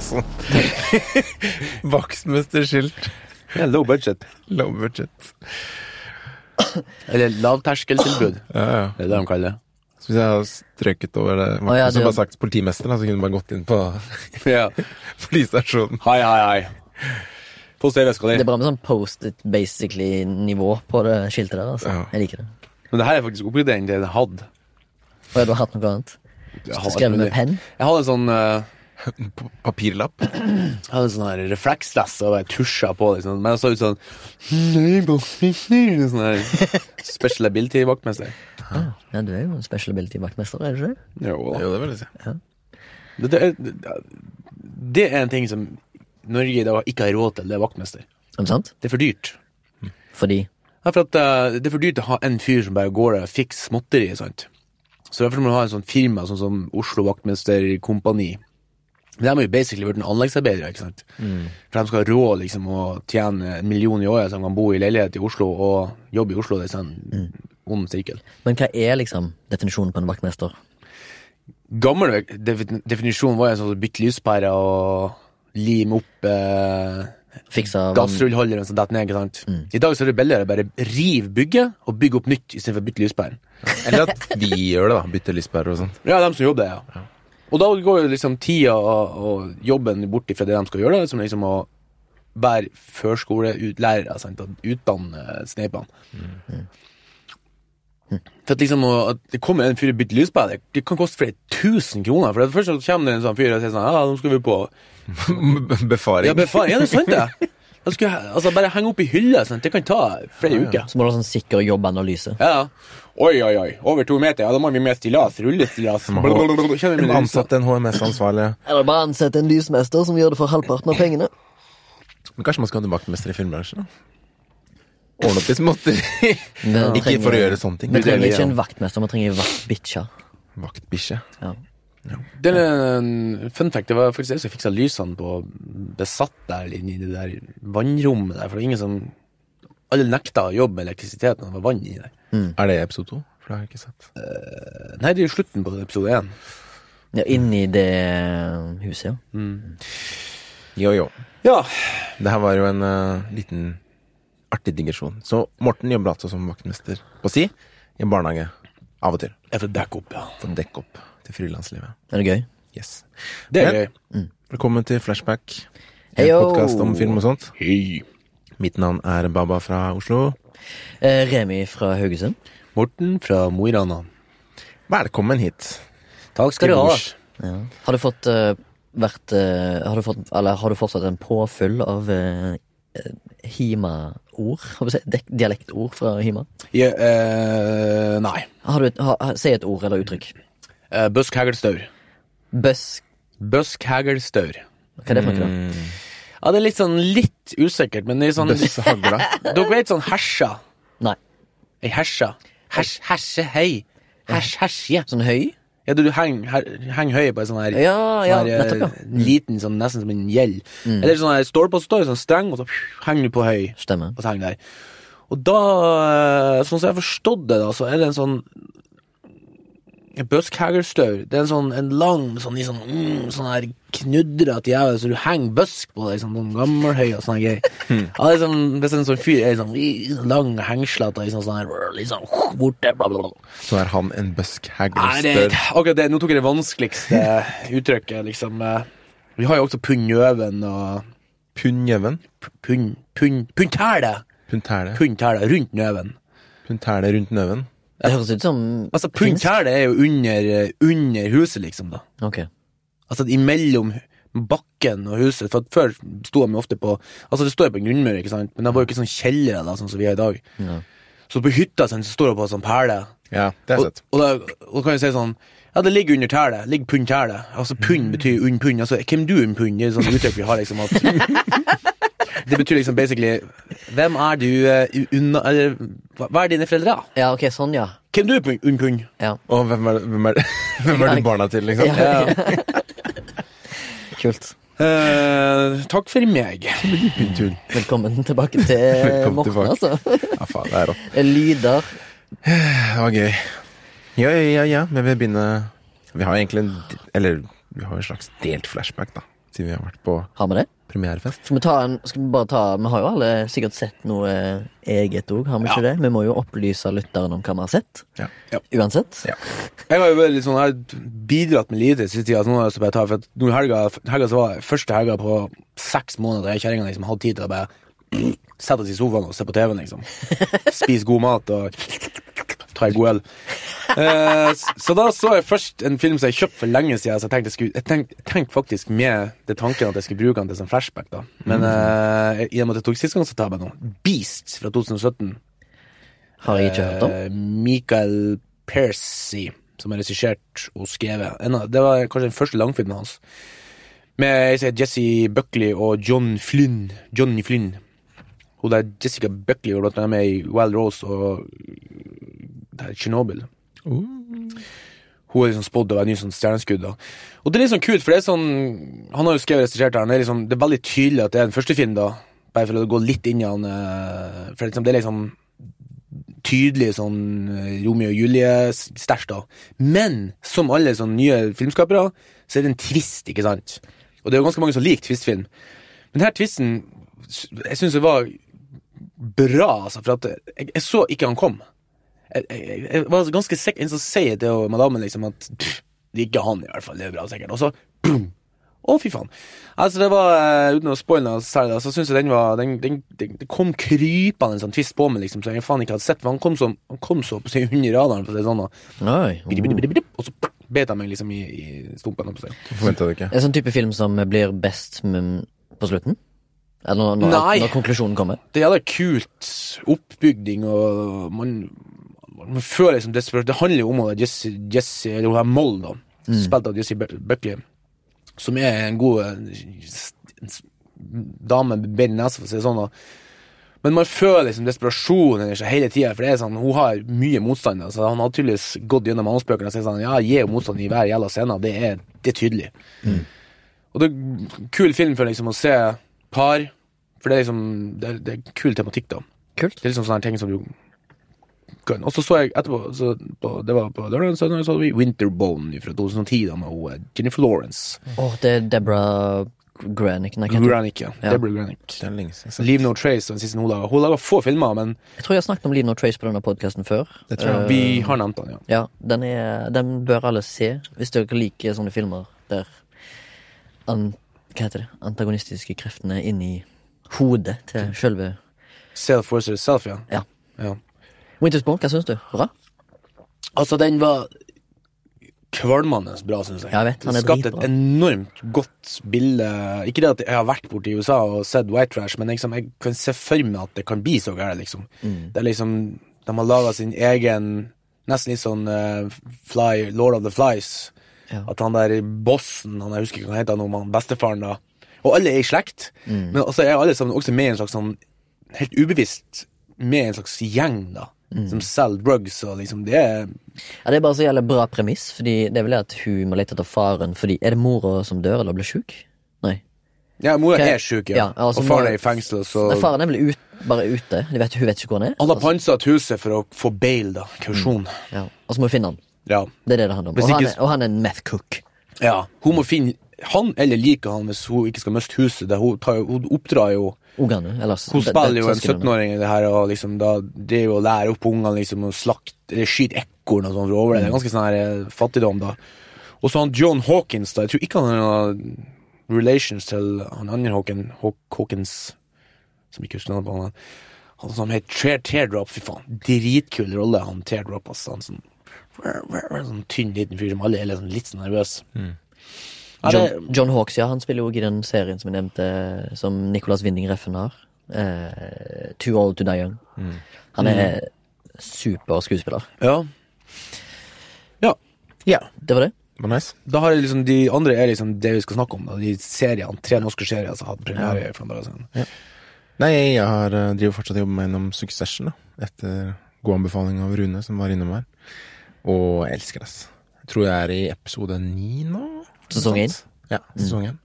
sånn. Vaktmesterskilt. Ja, low budget. Low budget. Eller lavterskeltilbud. Ja, ja. Det er det de kaller det. Så hvis jeg har strøket over det vakten, Å, ja, som du- bare sagt politimesteren, da, så kunne du bare gått inn på Ja. politistasjonen. Hei, hei, hei. Få se veska Det di. er bra med sånn post-it basically-nivå på det skiltet der. altså. Ja. Jeg liker det. Men det her er faktisk oppgradering til det jeg hadde. Og jeg har hatt noe annet. Jeg hadde- Skrevet med penn? Jeg hadde en sånn, eh, P- Papirlapp. jeg hadde en sånn her reflekslesse og jeg tusja på, liksom. Men jeg så ut sånn «Nei, vaktmester», Sånn her special ability-vaktmester. Ah, Ja, du er jo en special ability-vaktmester, er du ikke det? Jo da. Jo, det vil jeg si. Det, eh, det, er- det er en ting som Norge i dag ikke har råd til, det er vaktmester. Er det sant? Det er for dyrt. Fordi Ja, for at eh, Det er for dyrt å ha en fyr som bare går der og fikser småtteri. sant? Så Derfor må du ha en sånn firma sånn som Oslo Vaktmesterkompani. De har jo basically vært en anleggsarbeidere. ikke sant? For de skal ha råd liksom, å tjene en million i året, så de kan bo i leilighet i Oslo og jobbe i Oslo. Det er sånn ond sirkel. Men hva er liksom definisjonen på en vaktmester? Gammel vek- defin- definisjon var jo sånn å bytte lyspærer og lime opp eh, Fiksa gassrullholderen som detter ned. ikke sant? I dag så er det billigere å bare rive bygget og bygge opp nytt istedenfor å bytte lyspæren. Eller at vi gjør det, da. Bytter lyspærer og sånn. Ja, dem som jobber der, ja. Og da går jo liksom tida og, og jobben bort ifra det de skal gjøre, da, som liksom å være førskoleutlærere, sant, og utdanne eh, sneipene. Mm-hmm. For at liksom, å- at det kommer en fyr og bytter lyspære, det- det kan koste flere tusen kroner, for det første så kommer det en sånn fyr og sier sånn, ja, nå skal vi på, Befaring. ja, men faen, er det sant det? Da skal jeg- altså, bare henge opp i hylla, sant, det kan ta flere uker. Så må du ha sånn sikker jobbanalyse. Ja, ja. Oi, oi, oi, over to meter, ja, da må vi med stillas, rullestillas. Kjenner vi en med rullestillas. ansatt, en HMS-ansvarlig. Eller bare ansette en lysmester som gjør det for halvparten av pengene. Men kanskje man skal ha en vaktmester i filmbransjen? da? Ordne opp i småtteri. Vi Ikke trenger- for å gjøre sånne ting. Vi trenger Det er ikke vi, ja. en vaktmester, vi trenger vaktbikkja. Vaktbikkje. Ja. Det er en fun fact. Det var faktisk jeg som fiksa lysene på Besatt der inne i det der vannrommet der. For det var ingen som Alle nekta å jobbe med elektrisitet når det var vann i der. Er det episode to? For det har jeg ikke sett. Nei, det er jo slutten på episode én. ja, Inni det huset, ja. Jo, jo. Ja. Det her var jo en eh, liten artig digresjon. Så Morten jobber altså som vaktmester på si i en barnehage av og til. Jeg får dekke opp, ja. For å dekke opp til frilanslivet. Er det gøy? Yes. Det er Men- gøy. Velkommen til Flashback, en Heyo! podkast om film og sånt. Hei. Mitt navn er Baba fra Oslo. Eh, Remi fra Haugesund. Morten fra Mo i Rana. Velkommen hit. Takk skal du ha. Ja. Har du fått eh, vært eh, har, du fått, eller, har du fortsatt en påfyll av eh, eh, Hima-ord? Hva skal jeg si? Dek- Dialektord fra Hima? Ja, eh, nei. Har du et, ha, ha- si et ord eller uttrykk. Eh, Bøsk haglstaur. Bøsk Bøsk haglstaur. Hva er det for Mm. noe? da? Ja, det er litt sånn litt usikkert, men det er sånn Bøssehagla. Dere vet sånn hersa? Nei. Ei hersa. Hers, herse, hei. Hers, hersje. Sånn høy? Ja, du, du henger her- henger høy på en sånn her Ja, ja, Mm. sånn her, eh, nettopp, liten, sånn, nesten som en gjeld. Eller sånn her, står på står, sånn streng, og så henger du på høy. Stemmer. Og så henger du der. Og da, eh, sånn som jeg har forstått det, da, så er det en sånn en Bøskhagerstaur. Det er en sånn en lang, sånn, i sånn, mm, sånn her knudrete jævel, så du henger bøsk på deg, sånn, sånn gammelhøy og sånne greier. Ja, det er sånn, hvis en sånn fyr er sånn, i sånn lang hengslete, i sånn, sånn her, liksom, borte, bla, bla, bla. Så er han en Nei, det, bøskhaglstør. akkurat det, nå tok jeg det vanskeligste uttrykket, liksom. Eh, Vi har jo også Punnjøven og Punnjøven. p- Punn... Punn... Punntæle! Puntæle. Punntæle rundt nøven. Puntæle rundt nøven. Det høres ut som Altså, punntæle er jo under, eh, under huset, liksom, da. Ok. Altså imellom bakken og huset, for at før sto de jo ofte på Altså, det står jo på en grunnmur, ikke sant, men det var jo ikke sånn kjellere, da, sånn som vi har i dag. Ja. Så på hytta sin så står det på en sånn perle. Ja, det har jeg Og, sett. og, da, og da kan jeg si sånn Ja, det ligger under tælet. Ligger pund tælet. Altså pund betyr unn pund. Altså hvem du unn pund? Det er et sånt uttrykk vi har, liksom. At, det betyr liksom basically Hvem er du eh, unna Eller hva hva er dine foreldre? Ja, ok, sånn, ja. Hvem du er pund- unn pund? ja. Og hvem er, hvem er, hvem er de barna til, liksom? Ja. Kult. Eh, takk for meg. Puntul. Velkommen tilbake til Velkommen Morten, tilbake. altså. Ja, faen, det er rått. Lyder. Det var gøy. Ja, ja, ja, ja. men vi begynner Vi har egentlig en Eller vi har en slags delt flashback, da. Siden vi har vært på Har vi det? premierefest. Skal vi ta en Skal vi bare ta Vi har jo alle sikkert sett noe eh, eget òg, har vi ikke det? Vi må jo opplyse lytteren om hva vi har sett. Ja. Ja. Uansett. Ja. Jeg har jo vært litt sånn, jeg har bidratt med lite i siste tida. så Nå er det så bare å ta, for at nå i helga, helga så var det første helga på seks måneder der kjerringa liksom hadde tid til å bare sette oss i sofaen og se på TV-en, liksom. Spise god mat og ta en god øl. Eh, s- så da så jeg først en film som jeg kjøpte for lenge siden, så jeg tenkte jeg skulle Jeg tenkte, jeg tenkte faktisk med det tanken at jeg skulle bruke den til sånn flashback, da. Men eh, i og med at jeg tok sist gang, så tar jeg meg nå. Beast fra 2017. Har jeg ikke hørt om. Eh, Michael Percy, som har regissert og skrevet. En av- Det var kanskje den første langfilmen hans. Med jeg sier, Jesse Buckley og John Flynn. Johnny Flynn. Hun der Jessica Buckley var blant annet med i Wild Rose og det her Chernobyl. Hun er liksom spådd å være ny sånn stjerneskudd. da. Og det er litt sånn kult, for det er sånn Han har jo skrevet og regissert her, men det er, liksom, det er veldig tydelig at det er den første film, da. Bare for å gå litt inn i han eh, For liksom, det er liksom tydelig sånn eh, Romeo og Julie-stæsj, da. Men som alle sånne nye filmskapere, så er det en twist, ikke sant? Og det er jo ganske mange som liker twistfilm. Men denne twisten s- jeg syns det var bra, altså, for at jeg, jeg så ikke han kom. Jeg, jeg, jeg var ganske sikker En som sier det til madammen, liksom, at pff, det er ikke han, i hvert fall. Det er bra, sikkert. Og så boom! Å, fy faen. Altså, det var, eh, Uten å spoile noe særlig, da, så syns jeg den var den, den, den, Det kom krypende en sånn twist på meg, liksom, som jeg faen ikke hadde sett. For han kom så, han kom så på seg under radaren, for å si det sånn. da. Oi. Bidip, bidip, bidip, bidip, Og så pff, bet jeg meg liksom i, i stumpen. holdt jeg på å si. Det forventa du ikke. En sånn type film som blir best mm, på slutten? Eller når, når, Nei. når konklusjonen kommer? det er jævla kult oppbygning, og man, man føler liksom desperat. Det handler jo om at Jesse, Jesse eller hun her Moll, da, spilt av Jesse Bu- Buckley, som er en god eh, s- s- dame med bein i nesa, for å si det sånn. da. Men man føler liksom desperasjonen hennes hele tida, for det er sånn, hun har mye motstand. Altså, han har tydeligvis gått gjennom manusbøkene og sagt sånn, ja, gi henne motstand i hver jævla scene. Det er, det er tydelig. Og det er en kul film for liksom å se par, for det er liksom, det er, det er kul tematikk da. Kult. Det er liksom sånne her ting som du kan. Og så så jeg etterpå, så på, det var på lørdag, så så vi Winterbone fra 2010 da, med hun, eh, Jennifer Lawrence. Åh, det er Deborah Granick. Nei, hva heter hun? Granick, ja. Ja. Deborah Granick. Det er lenge siden. jeg har sett. Leave No Trace, den siste hun laga. Hun laga få filmer, men Jeg tror jeg har snakket om Leave No Trace på denne podkasten før. Det tror jeg. vi har nevnt den, ja. Ja, den, er, den bør alle se, hvis dere liker sånne filmer der an, Hva heter det? Antagonistiske kreftene er inni hodet til sjølve Self versus self, ja. Ja. ja. Wintersbone, hva syns du? Bra? Altså, den var kvalmende bra, syns jeg. Jeg vet, han er det skapte dritbra. et enormt godt bilde. Ikke det at jeg har vært borte i USA og sett White Trash, men liksom, jeg kan se for meg at det kan bli så gærent, liksom. Mm. Det er liksom De har laga sin egen Nesten litt sånn eh, fly, Lord of the Flies. Ja. At han der bossen, han, jeg husker ikke hva han heter, han, han bestefaren, da Og alle er i slekt, Mm. men også er alle sammen også med i en slags sånn Helt ubevisst med en slags gjeng, da. Mm. Som selger drugs, og liksom Det er Ja, Det er bare så jævlig bra premiss, Fordi det er vel det at hun må lete etter faren fordi Er det mora som dør eller blir sjuk? Nei. Ja, mora Ok. er sjuk, ja. Ja, altså, og faren mor- er i fengsel, så Nei, faren er vel ut, bare ute. De vet, hun vet ikke hvor han er. Altså, Han har pantsatt huset for å få bail, da. Kausjon. Ja, Og så må hun finne han. Ja. Det er det det handler om. Hvis Og han ikke- er, og han er en meth cook. ja. Hun må finne han eller like han hvis hun ikke skal miste huset. Det, hun, tar, jo- hun oppdrar jo Ungene. eller s- Hun det- det- spiller jo en søsknene. 17-åring i det her, og liksom da Det er jo å lære opp ungene liksom å slakte Eller skyte ekorn og sånn for å overleve. Det er ganske sånn her eh, fattigdom, da. Og så han John Hawkins, da. Jeg tror ikke han har noen relations til han andre Hawken, Haw Hawkins Som ikke husker navnet på han. Han som het Tear Teardrop, fy faen. Dritkul rolle, han Teardrop, altså. Han sånn Sånn tynn, liten fyr som alle er liksom litt sånn nervøs. Ja, det- John, John Hawks, ja. Han spiller jo også i den serien som jeg nevnte, som Nicolas Winding Reffen har. Eh, Too Old To Die Young. Mm. Han er super skuespiller. Ja. Ja. Ja. Det var det. Det var nice. Da har jeg liksom, De andre er liksom det vi skal snakke om. Da. De seriene, Tre norske serier som hadde premiere for noen dager siden. Nei, jeg har, eh, driver fortsatt og jobber meg gjennom Succession, da. Etter god anbefaling av Rune, som var innom her. Og jeg elsker det, ass. Jeg tror jeg er i episode ni nå. Sesong Ikke sant? Ja, sesong én.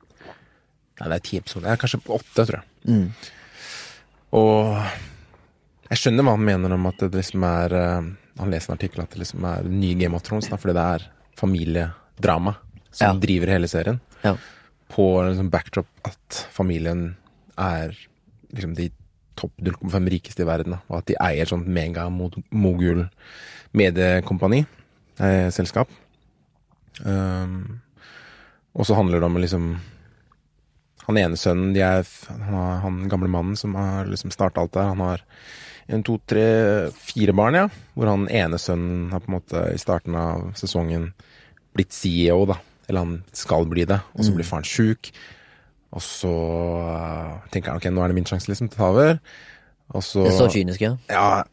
Nei, det er ti episoder. Jeg er kanskje på åtte, tror jeg. Og jeg skjønner hva han mener om at det liksom er eh, Han leser en artikkel at det liksom er nye Game of Thrones, da, fordi det er familiedrama som Ja. driver hele serien. Ja. på en sånn backdrop at familien er liksom de topp 0,5 rikeste i verden, da, og at de eier sånt megamogul mediekompani, eh, selskap. Um, og så handler det om å liksom Han ene sønnen de er, f- han, har- han gamle mannen som har liksom starta alt det her, han har en, to, tre, fire barn, ja. Hvor han ene sønnen har på en måte i starten av sesongen blitt CEO, da. Eller han skal bli det. Og så blir faren sjuk. Og så eh, tenker han ok, nå er det min sjanse liksom til å ta over. Og så Det er så kynisk, ja. ja,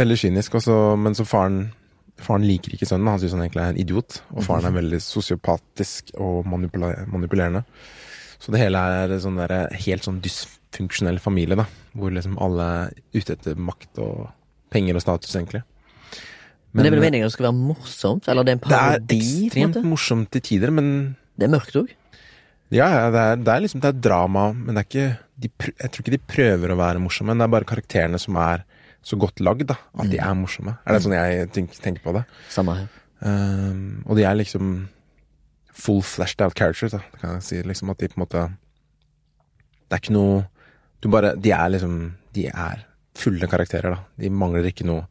veldig kynisk også, men så faren Faren liker ikke sønnen, han syns han egentlig er en idiot. Og faren er veldig sosiopatisk og manipula manipulerende. Så det hele er sånn der, helt sånn dysfunksjonell familie, da. Hvor liksom alle er ute etter makt og penger og status, egentlig. Men det er vel meningen at det skal være morsomt? Eller det er en det er parodi? på en ekstremt måte? morsomt til tider, men Det er mørkt òg. ja, ja, det er, det er liksom det er drama, men det er ikke de, pr- Jeg tror ikke de prøver å være morsomme, men det er bare karakterene som er så godt lagd, da. At Mm. de er morsomme. Er det sånn jeg tenk, tenker på det? Samme her. Um, og de er liksom full fleshed out characters, da. Det kan jeg si. Liksom at de på en måte Det er ikke noe Du bare De er liksom De er fulle karakterer, da. De mangler ikke noe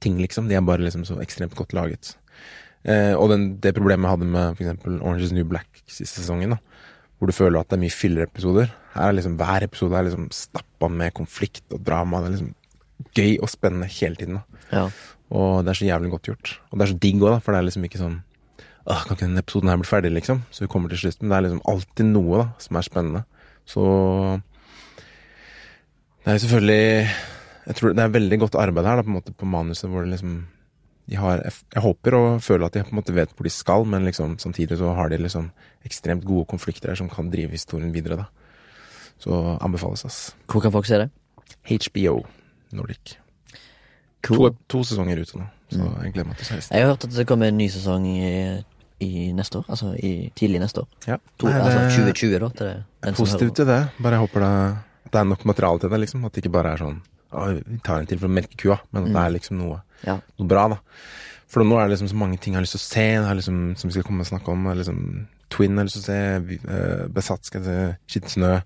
ting, liksom. De er bare liksom så ekstremt godt laget. Eh, og den, det problemet jeg hadde med for eksempel Orange is the New Black siste sesongen, da, hvor du føler at det er mye fillerepisoder Her er liksom hver episode er liksom stappa med konflikt og drama. Det er liksom gøy og spennende hele tiden. da Ja. og det er så jævlig godt gjort. Og det er så digg òg, for det er liksom ikke sånn Åh, kan ikke denne episoden her bli ferdig, liksom? Så vi kommer til slutten. Det er liksom alltid noe da, som er spennende. Så Det er jo selvfølgelig Jeg tror det er veldig godt arbeid her, da, på en måte, på manuset, hvor det liksom de har, jeg f- jeg håper og føler at de på en måte vet hvor de skal, men liksom, samtidig så har de liksom ekstremt gode konflikter her som kan drive historien videre. da. Så anbefales, ass. Hvor kan folk se det? HBO Nordic. To, Cool. to sesonger ute nå, så jeg gleder meg til 16. Jeg har hørt at det kommer en ny sesong i, i neste år. Altså i, tidlig neste år. Ja. To, Nei, det altså 2020, da. Til det, er den som hører. positivt til det. Bare jeg håper det, at det er nok materiale til det, liksom. At det ikke bare er sånn «Å, vi tar en til for å melke kua, men at det Mm. er liksom noe, Ja. noe bra, da. For nå er det liksom så mange ting jeg har lyst til å se, jeg har liksom, som vi skal komme og snakke om. Jeg har liksom, Twin jeg har lyst til å se, vi- eh, Besatt skal jeg se, Skitten snø.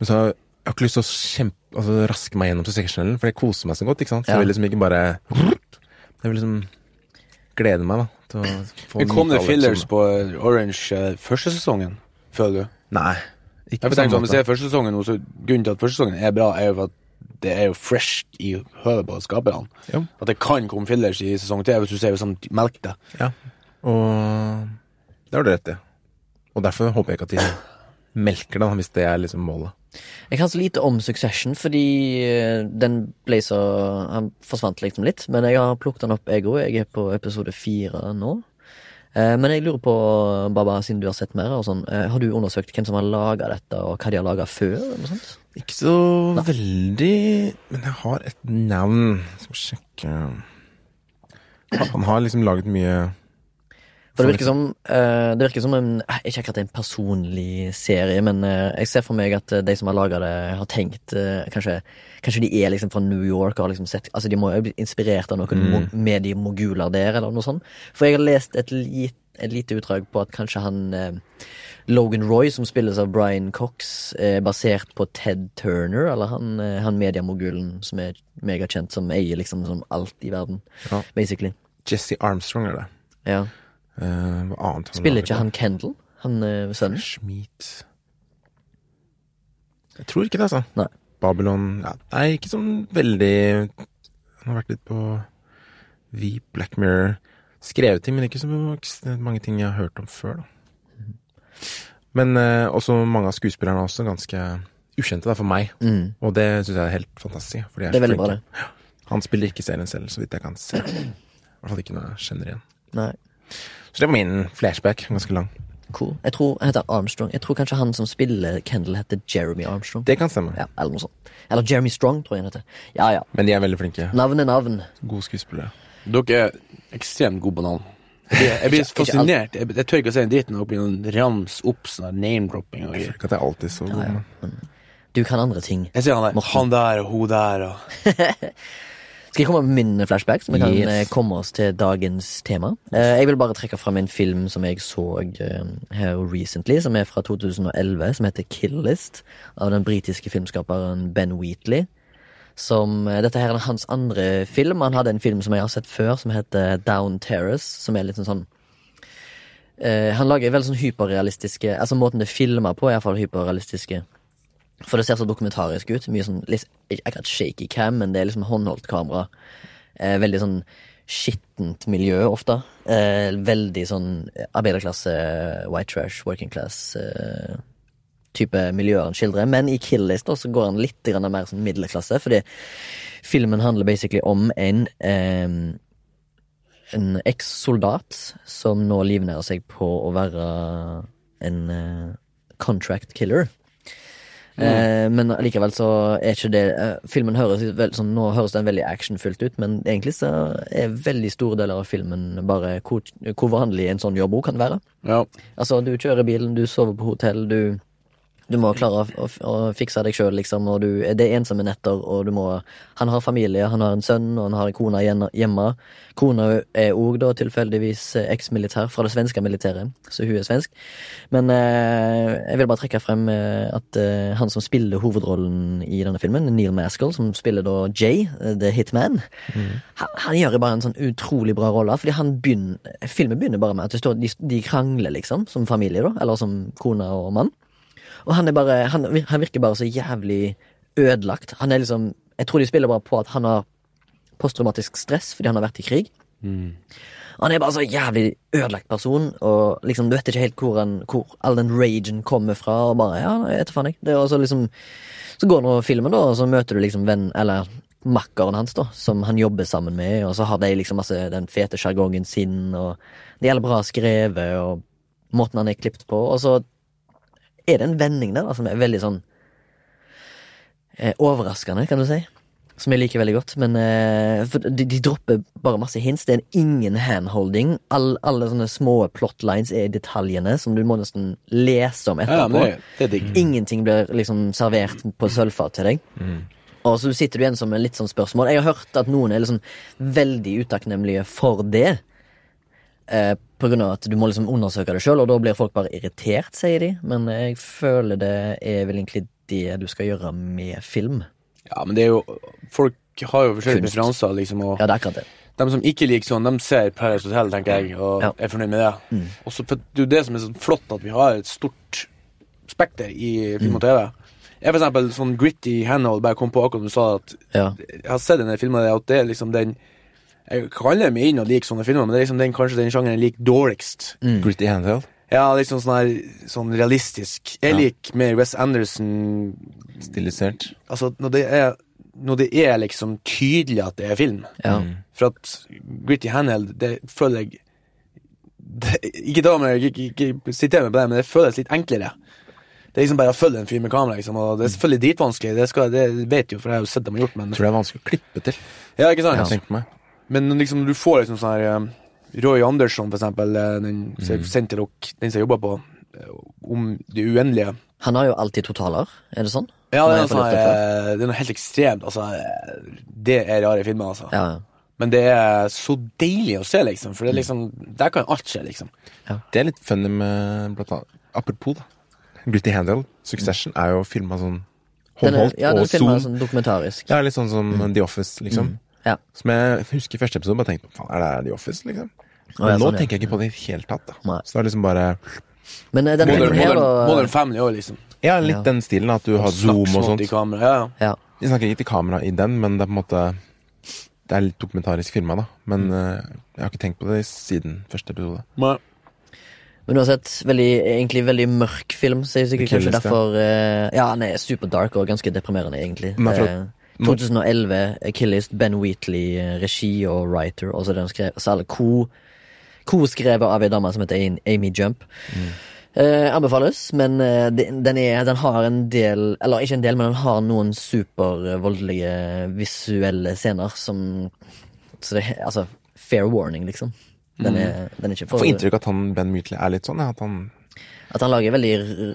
Men så har jeg jeg har ikke lyst til å kjempe, altså, raske meg gjennom til seksjonellen, for jeg koser meg så godt, ikke sant. Så Ja. jeg vil liksom ikke bare Jeg vil liksom glede meg, da. Til å få Men kom det nyte alle fillers episodene. på Orange eh, første sesongen, føler du? Nei. Ikke på Jeg vil tenke samme sånn, Hvis det måte. er første sesongen nå, så grunnen til at første sesongen er bra, er jo at det er jo fresh i høvet på skaperne. Ja. At det kan komme fillers i sesong tre, hvis du ser sånn melk det. Ja, og det har du rett i. Og derfor håper jeg ikke at de melker den, hvis det er liksom målet. Jeg kan så lite om Succession, fordi eh, den ble så Han forsvant liksom litt, men jeg har plukket den opp, jeg òg. Jeg er på episode fire nå. Eh, Men jeg lurer på, Baba, siden du har sett mer, og sånn, eh, har du undersøkt hvem som har laga dette, og hva de har laga før? Eller noe sånt? Ikke så veldig Men jeg har et navn. Skal vi sjekke Han har liksom laget mye For det virker som, eh, det virker som en, eh, ikke akkurat en personlig serie, men eh, jeg ser for meg at eh, de som har laga det, har tenkt eh, kanskje, kanskje de er liksom fra New York og har liksom sett Altså, de må jo bli inspirert av noen mo- mediemoguler der, eller noe sånt. For jeg har lest et, lit, et lite utdrag på at kanskje han eh, Logan Roy, som spilles av Brian Cox, er basert på Ted Turner, eller han, eh, han mediemogulen som er megakjent, som eier liksom som alt i verden, Ja. basically. Jesse Armstrong er det. Ja. Eh, hva annet har han Spiller laget ikke da? han Kendal, han eh, sønnen? Schmidt Jeg tror ikke det, altså. Nei. Babylon ja, Nei, ikke sånn veldig Han har vært litt på V, Black Mirror Skrevet ting, men ikke så mange ting jeg har hørt om før, da. Mhm. Men eh, også mange av skuespillerne er også ganske ukjente da, for meg. Mm. Og det syns jeg er helt fantastisk. For de er, Det er så veldig bra, flinke. Han spiller ikke serien selv, så vidt jeg kan se. I hvert fall ikke når jeg kjenner igjen. Nei, Så det var min flashback. Ganske lang. cool. Jeg tror han heter Armstrong. Jeg tror kanskje han som spiller Kendal, heter Jeremy Armstrong. Det kan stemme. Ja, eller noe sånt. Eller Jeremy Strong, tror jeg han heter. Ja, ja. Men de er veldig flinke. Navn er navn. Gode skuespillere. Dere er ekstremt gode på navn. Jeg blir, jeg blir alt. fascinert. Jeg, jeg tør ikke å si en dritt når det blir noen rams opp, sånn der name-dropping Jeg og greier. føler ikke at jeg alltid er så god. men- Du kan andre ting. Jeg sier han der, han der og hun der og Skal jeg komme med min flashback, så vi kan Yes. eh, komme oss til dagens tema? Eh, jeg vil bare trekke fram en film som jeg så eh, her recently, som er fra 2011, som heter Kill List, av den britiske filmskaperen Ben Wheatley. Som, eh, dette her er hans andre film. Han hadde en film som jeg har sett før, som heter Down Terrace, som er litt sånn sånn eh, Han lager veldig sånn hyperrealistiske Altså måten det er filma på, er iallfall hyperrealistiske. For det ser så dokumentarisk ut. Mye sånn, litt, Ikke akkurat shaky cam, men det er liksom håndholdt kamera. Eh, veldig sånn skittent miljø ofte. Eh, veldig sånn arbeiderklasse, white trash, working class. Eh, type miljøer han skildrer, men i Kill List da, så går han litt grann mer sånn middelklasse, fordi filmen handler basically om en eh, en eks-soldat som nå livnærer seg på å være en eh, contract killer. Eh, men allikevel så er ikke det eh, Filmen høres ut vel, sånn, Nå høres den veldig actionfylt ut, men egentlig så er veldig store deler av filmen bare hvor, hvor vanlig en sånn jobb også kan være. Ja. Altså, du kjører bilen, du sover på hotell, du, du må klare å, å, å fikse deg sjøl, liksom, og du, det er ensomme netter, og du må Han har familie, han har en sønn, og han har en kone igjen- hjemme. Kona er òg da tilfeldigvis eh, eksmilitær fra det svenske militæret, så hun er svensk. Men eh, jeg vil bare trekke frem eh, at eh, han som spiller hovedrollen i denne filmen, Neil Maskell, som spiller da Jay, eh, The Hitman, han, han gjør jo bare en sånn utrolig bra rolle, fordi han begynner, filmen begynner bare med at det står, de, de krangler liksom, som familie da, eller som kone og mann. Og han er bare, han, han virker bare så jævlig ødelagt. Han er liksom, jeg tror de spiller bare på at han har posttraumatisk stress fordi han har vært i krig. Han er bare så jævlig ødelagt person, og liksom, du vet ikke helt hvor, han, hvor all den ragen kommer fra, og bare, ja, jeg vet faen ikke. Det er også liksom, så går nå filmen da, og så møter du liksom venn, eller makkeren hans da, som han jobber sammen med, og så har de liksom masse den fete jargongen sin, og det gjelder bra skrevet, og måten han er klippt på, og så er det en vending der da, som er veldig sånn eh, overraskende, kan du si. Som jeg liker veldig godt. Men eh, for de, de dropper bare masse hints. Det er ingen handholding. All, alle sånne små plotlines er i detaljene som du må nesten lese om Ja, etterpå. men det, det er digg. Ingenting blir liksom servert på sølvfat til deg. Mm. Og så sitter du igjen som en litt sånn spørsmål. Jeg har hørt at noen er liksom veldig utakknemlige for det. Eh, på grunn av at du må liksom undersøke det sjøl, og da blir folk bare irritert, sier de. Men jeg føler det er vel egentlig det du skal gjøre med film. Ja, men det er jo Folk har jo forskjellige Kunst. preferanser, liksom, og Ja, det er akkurat det. de som ikke liker sånn, de ser Paradise Hotel, tenker jeg, og Ja. er fornøyd med det. Og så for Det er jo det som er så flott, at vi har et stort spekter i film og TV. Jeg, for eksempel, sånn gritty handhold, bare kom på akkurat du sa at Ja. Jeg har sett denne filmen, at det er liksom den Jeg kaller meg inn og liker sånne filmer, men det er liksom den, kanskje den sjangeren jeg liker dårligst. Mm. Gritty handheld. Ja, liksom sånn her Sånn realistisk. Jeg liker mer Wes Anderson Stilisert. Altså, når det er når det er liksom tydelig at det er film. Ja. For at Gritty Handheld, det føler jeg det, Ikke da, men jeg ikke, ikke sitere meg på det, men det føles litt enklere. Det er liksom bare å følge en fyr med kamera, liksom, og det er selvfølgelig dritvanskelig, det, skal, det vet jeg jo, for jeg har jo sett dem gjort, men Jeg tror det er vanskelig å klippe til. Ja, ikke sant? Jeg tenker meg. Men liksom, du får liksom sånn her eh, Roy Andersson, for eksempel, eh, den som mm. den som jobber på eh, Om det uendelige. Han har jo alltid totaler, er det sånn? Ja, det Har er, jeg noe sånn, fått lov til å få? her, eh, det er noe helt ekstremt. Altså, eh, det er rare filmer, altså. ja. Men det er så deilig å se, liksom. For det er liksom, der kan alt skje, liksom. Det er litt funny med blant annet Apropos, da. Gritty handheld. Succession er jo filma sånn Den er, håndholdt ja, den og filmen zoom. er sånn Mm. dokumentarisk. Ja, litt sånn som The Office, liksom. Ja. Som jeg husker i første episode, bare tenkte faen, er det her The Office, liksom? Men ja, nå sånn, ja. tenker jeg ikke på det i det hele tatt, da. Nei. Så det er liksom bare Men eh, denne Modern, filmen her, modern, da modern Family òg, liksom. Ja, litt Ja. den stilen, at du har zoom og Slagsmål sånt. i kamera. Ja, ja. ja. Vi snakker ikke til kamera i den, men det er på en måte Det er litt dokumentarisk firma, da. Men Mm. eh, jeg har ikke tenkt på det siden første episode. Men, Men uansett, veldig, egentlig veldig mørk film, så jeg er sikkert Ikke kanskje lyst, ja. derfor eh, Ja, han er superdark og ganske deprimerende, egentlig. Men for at- Eh, 2011, Achillest, Ben Wheatley, eh, regi og writer, og så den skrev så alle ko Co-skrevet av ei dame som heter Ain- Amy Jump. Mm. Eh, anbefales, men eh, de- den, er, den har en del Eller ikke en del, men den har noen supervoldelige visuelle scener som Så det Altså, fair warning, liksom. Mm. Den er, den er ikke Jeg får inntrykk av at han Ben Wheatley er litt sånn. Ja, at han at han lager veldig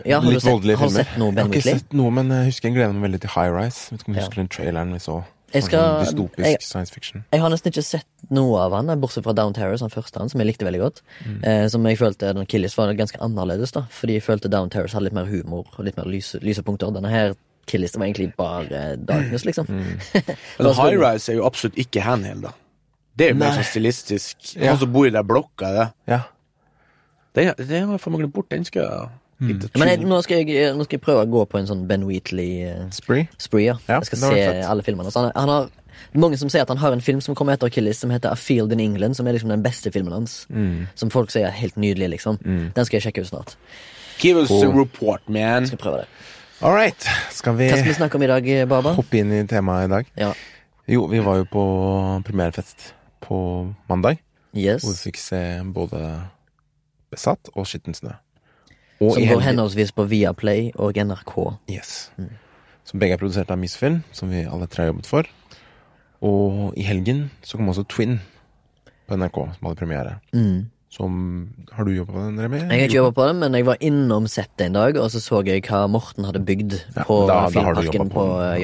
Ja, har du Litt sett, voldelige har du filmer. sett noe Ben Jeg har Whitley? ikke sett noe, men jeg husker jeg gleder meg veldig til High Rise. Vet ikke om du Ja. husker den traileren vi så. Sånn Jeg, skal, Dystopisk jeg, science fiction. jeg har nesten ikke sett noe av han, bortsett fra Down Terrors, han første han, som jeg likte veldig godt. Mm. Eh, som jeg følte den Killis var ganske annerledes, da. Fordi jeg følte Down Terrors hadde litt mer humor og litt mer lyse, lyse punkter. Denne her Killis det var egentlig bare Darkness, liksom. Mm. Men High Rise er jo absolutt ikke Handheld, da. Det er jo mer Altså- Nei. sånn stilistisk. Ja. Han som bor i den blokka, det. Ja. Den, den har jeg faen meg glemt bort. Den skal Mm. jeg litt Men jeg, nå, skal jeg, nå skal jeg prøve å gå på en sånn Ben Wheatley eh, Spree. spree. Ja. Ja, jeg skal det var se fett. alle filmene. hans. Han, han har, mange som sier at han har en film som kommer etter Achilles, som heter A Field in England, som er liksom den beste filmen hans. Mm. Som folk sier er helt nydelig, liksom. Den skal jeg sjekke ut snart. Give us a Cool. report, man. Skal prøve det. All right. Skal vi Hva skal vi snakke om i dag, eh, Baba? hoppe inn i temaet i dag? Ja. Jo, vi var jo på premierefest på mandag, Yes. hvor vi fikk se både Besatt og Skitten snø. Og Som i går helgen- henholdsvis på Viaplay og NRK. Yes. Som begge er produsert av Misfilm, som vi alle tre har jobbet for. Og i helgen så kom også Twin på NRK, som hadde premiere. Som Har du jobba på den, Remi? Mm. Jeg har ikke jobba på det, men jeg var innom settet en dag, og så så jeg hva Morten hadde bygd Ja, på da- da har du Filmparken jobbet på, på eh, den.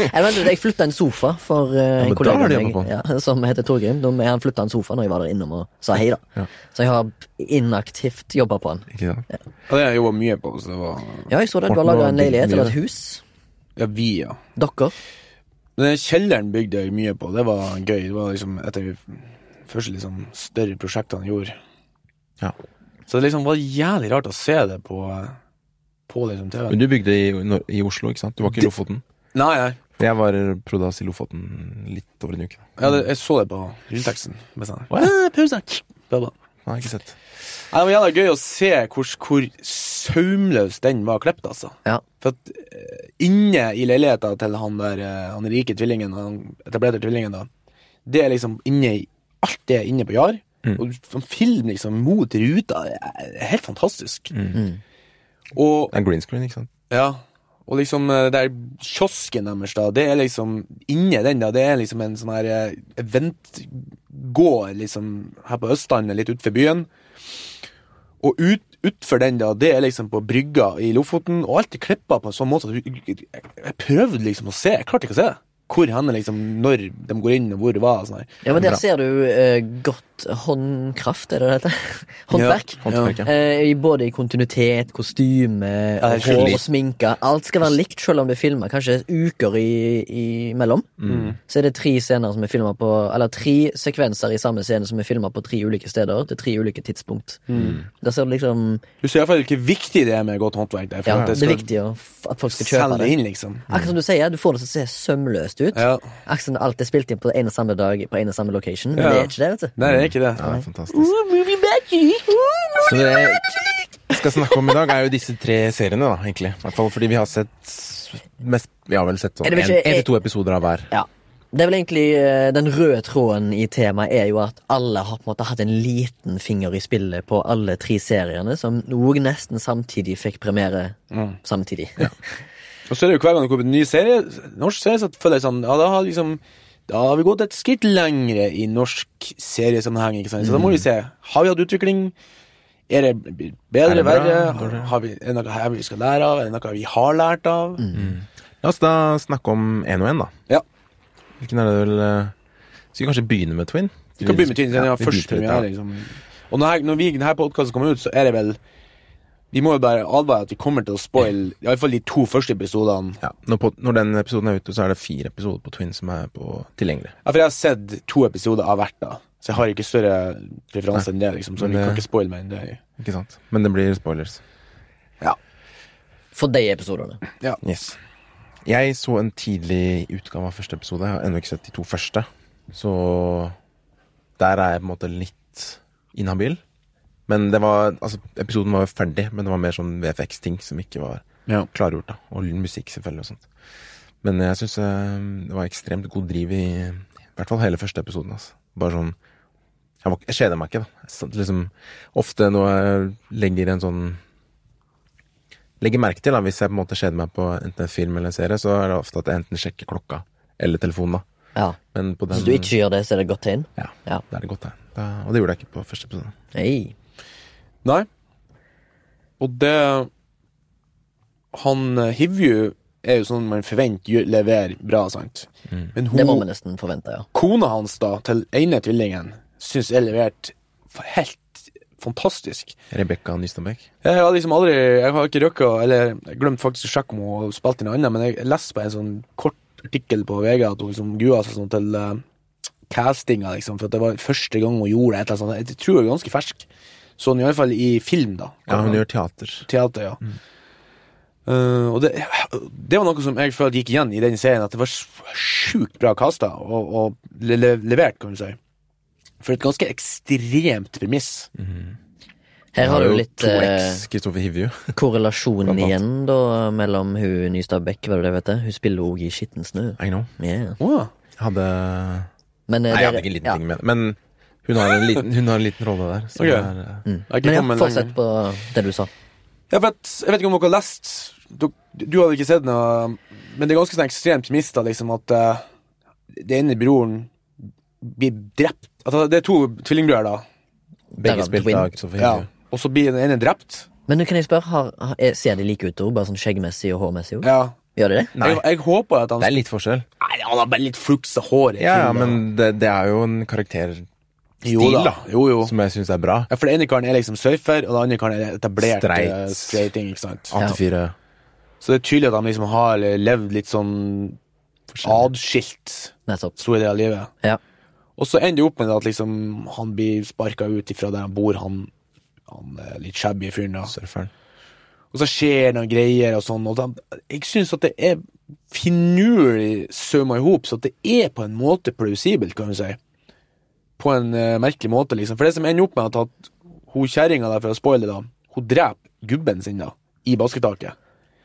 Ja. jeg vent, jeg flytta en sofa for eh, men da en har kollega du av meg, jobbet på ja, som heter Torgrim. Da- Han flytta en sofa når jeg var der innom og sa hei, da. Så jeg har inaktivt jobba på den. Ikke sant? Ja, det har jeg jobba mye på. Så det var Ja, jeg så det. Du har Morten laga har en bygd leilighet mye. eller et hus. ja, vi, ja. Dere. Men den kjelleren bygde jeg mye på. Det var gøy. Det var liksom et av de første liksom, større prosjektene jeg gjorde. Ja. Så det liksom var jævlig rart å se det på, på liksom TV. Men du bygde i, Nor- i Oslo, ikke sant? Du var ikke i Lofoten? Nei, nei. For Jeg var prodas i Lofoten litt over en uke. Ja, det, jeg så det på rulleteksten. Med sånn. Hva? Ah, pause. Bla, bla. Nei, ikke sett. Nei, Det var jævla gøy å se hvor, hvor saumløs den var klippet, altså. Ja. For at eh, inne i leiligheta til han der eh, han rike tvillingen, han etablerte tvillingen, da, det er liksom inne i Alt det er inne på Jar. Og sånn film liksom mot ruta det er helt fantastisk. Og Det er green screen, ikke sant? ja, og liksom eh, der kiosken deres, da, det er liksom inni den, da, det er liksom en sånn her eh, eventgård, liksom, her på Østlandet, litt utenfor byen. Og ut, utfor den, da, det er liksom på brygga i Lofoten, og alt er klippa på en sånn måte at du- jeg, jeg prøvde liksom å se, jeg klarte ikke å se det. Hvor hen, liksom, når de går inn, og hvor det var, og sånn her. ja, men Bra. der ser du eh, godt håndkraft, er det det heter? Håndverk. Håndverket. Eh, i- både i kontinuitet, kostyme, det er hår skyldig. og sminke. Alt skal være likt, selv om det er filma kanskje uker i- imellom. Mm. Så er det tre scener som er filmet på Eller tre sekvenser i samme scene som er filma på tre ulike steder til tre ulike tidspunkt. Mm. Der ser du liksom Du ser i hvert fall hvor viktig det er med godt håndverk der, for ja, at Det det er skal viktig å f- at folk skal kjøpe selge det. inn, liksom. Akkurat som du sier, du får det til å se sømløst ut. Ja. Akkurat som alt er spilt inn på en og samme dag på en og samme location, men Ja. det er ikke det, vet du. Nei, det er ikke det. Ja, det er fantastisk. Så det jeg skal snakke om i dag, er jo disse tre seriene, da, egentlig. I hvert fall fordi vi har sett mest Vi har vel sett sånn Er det én vel ikke- til to episoder av hver. Ja. Det er vel egentlig eh, Den røde tråden i temaet er jo at alle har på en måte hatt en liten finger i spillet på alle tre seriene, som òg nesten samtidig fikk premiere samtidig. Og så er det jo hver gang det kommer en ny serie, norsk serie, så føler jeg sånn Ja, da har liksom Da har vi gått et skritt lengre i norsk seriesammenheng, ikke sant. Så da må vi se. Har vi hatt utvikling? Er det b- Er bedre, det bra? verre? Har, har vi, er det noe her vi skal lære av? Er det noe vi har lært av? Mm. La oss da snakke om én og én, da. Ja. Hvilken er det vel eh, Skal vi kanskje begynne med Twin? Vi kan begynne med Tynn, siden det vi var første begynte litt, ja. premiere, liksom. Og når, når vi, denne podkasten kommer ut, så er det vel Vi må jo bare advare at vi kommer til å spoile iallfall de to første episodene. Ja, når, pod- når den episoden er ute, så er det fire episoder på Twin som er på tilgjengelig. Ja, for jeg har sett to episoder av hvert, da. Så jeg har ikke større preferanse enn det, liksom. Så men vi det- kan ikke spoile mer enn det. Ikke sant? Men det blir spoilers. Ja. For de episodene. Yes. Jeg så en tidlig utgave av første episode. Jeg har ennå ikke sett de to første. Så der er jeg på en måte litt inhabil. Men det var Altså, episoden var jo ferdig, men det var mer sånn VFX-ting som ikke var Ja. klargjort, da. Og musikk, selvfølgelig, og sånt. Men jeg syns det var ekstremt god driv i i hvert fall hele første episoden, altså. Bare sånn Jeg, var- jeg kjeder meg ikke, da. Jeg satt liksom Ofte når jeg legger en sånn legger merke til, da, hvis jeg på en måte kjeder meg på enten en film eller en serie, så er det ofte at jeg enten sjekker klokka eller telefonen, da. Ja. Men på den Hvis du ikke gjør det, så er det et godt tegn. Ja, Ja. da er det godt tegn. Da- Og det gjorde jeg ikke på første episode. Hey. Nei. Og det Han eh, Hivju er jo sånn man forventer gjør- leverer bra, sant. Men Det må vi Mm. hun, nesten forvente, ja. kona hans, da, til ene tvillingen, syns jeg leverte f- helt fantastisk. Rebekka Nystadbekk. Jeg har liksom aldri Jeg har ikke røkka Eller jeg glemte faktisk å sjekke om hun spilte i noe annet, men jeg leste på en sånn kort artikkel på VG at hun liksom grua seg sånn til eh, castinga, liksom, for at det var første gang hun gjorde et eller annet sånt. Jeg tror hun er ganske fersk. Sånn i alle fall i film, da. Ja, hun gjør Mm. teater. Teater, ja. Eh, og det, det var noe som jeg følte gikk igjen i den serien, at det var s- sjukt bra kasta og, og le le levert, kan du si. For et ganske ekstremt premiss. Mm. Her har du jo litt to eh, eks Kristoffer Hivju. korrelasjon Blant annet. igjen, da, mellom hun Nystad Bekk, hva det vet jeg. Hun spiller òg i Skitten snø. I know. Yeah. Åh. Hadde Men, Nei, eh, jeg hadde dere- ikke en liten ja. ting med det. Men hun har en liten, hun har en liten rolle der. Så Ok. det er, eh, Mm. Jeg har ikke Men ja, kommet lenger. fortsett på det du sa. Jeg vet, jeg vet ikke om dere har lest du, du hadde ikke sett noe Men det er ganske sånn ekstremt premiss da, liksom at eh, det ene broren blir drept altså, Det er to tvillingbrødre, da. Der begge er spilt twin. av Kristoffer Ja. Hivju. Og så blir den ene drept. Men du, kan jeg spørre, har, har, er- ser de like ut, da? Bare sånn skjeggmessig og hårmessig? også? Ja. Gjør de det? Nei. Jeg, jeg håper at han Det er litt forskjell. Nei, han har bare litt flux av hår. i Ja, ja, trynet. men det, det er jo en karakterstil jo, da. da. Jo, jo. som jeg syns er bra. Ja, for den ene karen er liksom surfer, og den andre karen er etablert Streit. eh, straiting. ikke sant? AT4 Så det er tydelig at han liksom har levd litt sånn adskilt. Nettopp. store deler av livet. Ja. Og så ender det opp med at liksom, han blir sparka ut ifra der han bor, han, han eh, litt shabby fyren. da. surferen. Og så skjer noen greier og sånn. og da, Jeg syns at det er finurlig sømma i hop, så at det er på en måte plausibelt, kan du si. På en eh, merkelig måte, liksom. For det som ender opp med at, at hun kjerringa der, for å spoile det, da, hun dreper gubben sin da, i basketaket.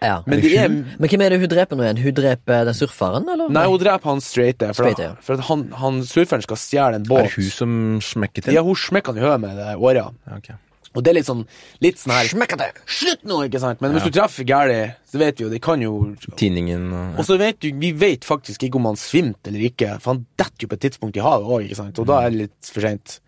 ja. Men, Men det er hvem er det hun dreper nå igjen? Hun dreper den surferen, eller? Nei, hun dreper han straighte, for, Straighte, ja. for at han, han surferen skal stjele en Er båt. det hun som smekker til? Ja, hun smekker han i høyet med det året. Ja, ok. Og det er litt sånn Litt sånn her Smekkete! Slutt nå, ikke sant? Men hvis du treffer gærlig, så vet vi jo, det kan jo Og Tinningen og så vet du, vi vet faktisk ikke om han svimte eller ikke, for han detter jo på et tidspunkt i havet òg, ikke sant? Og da Mm. er det litt for seint.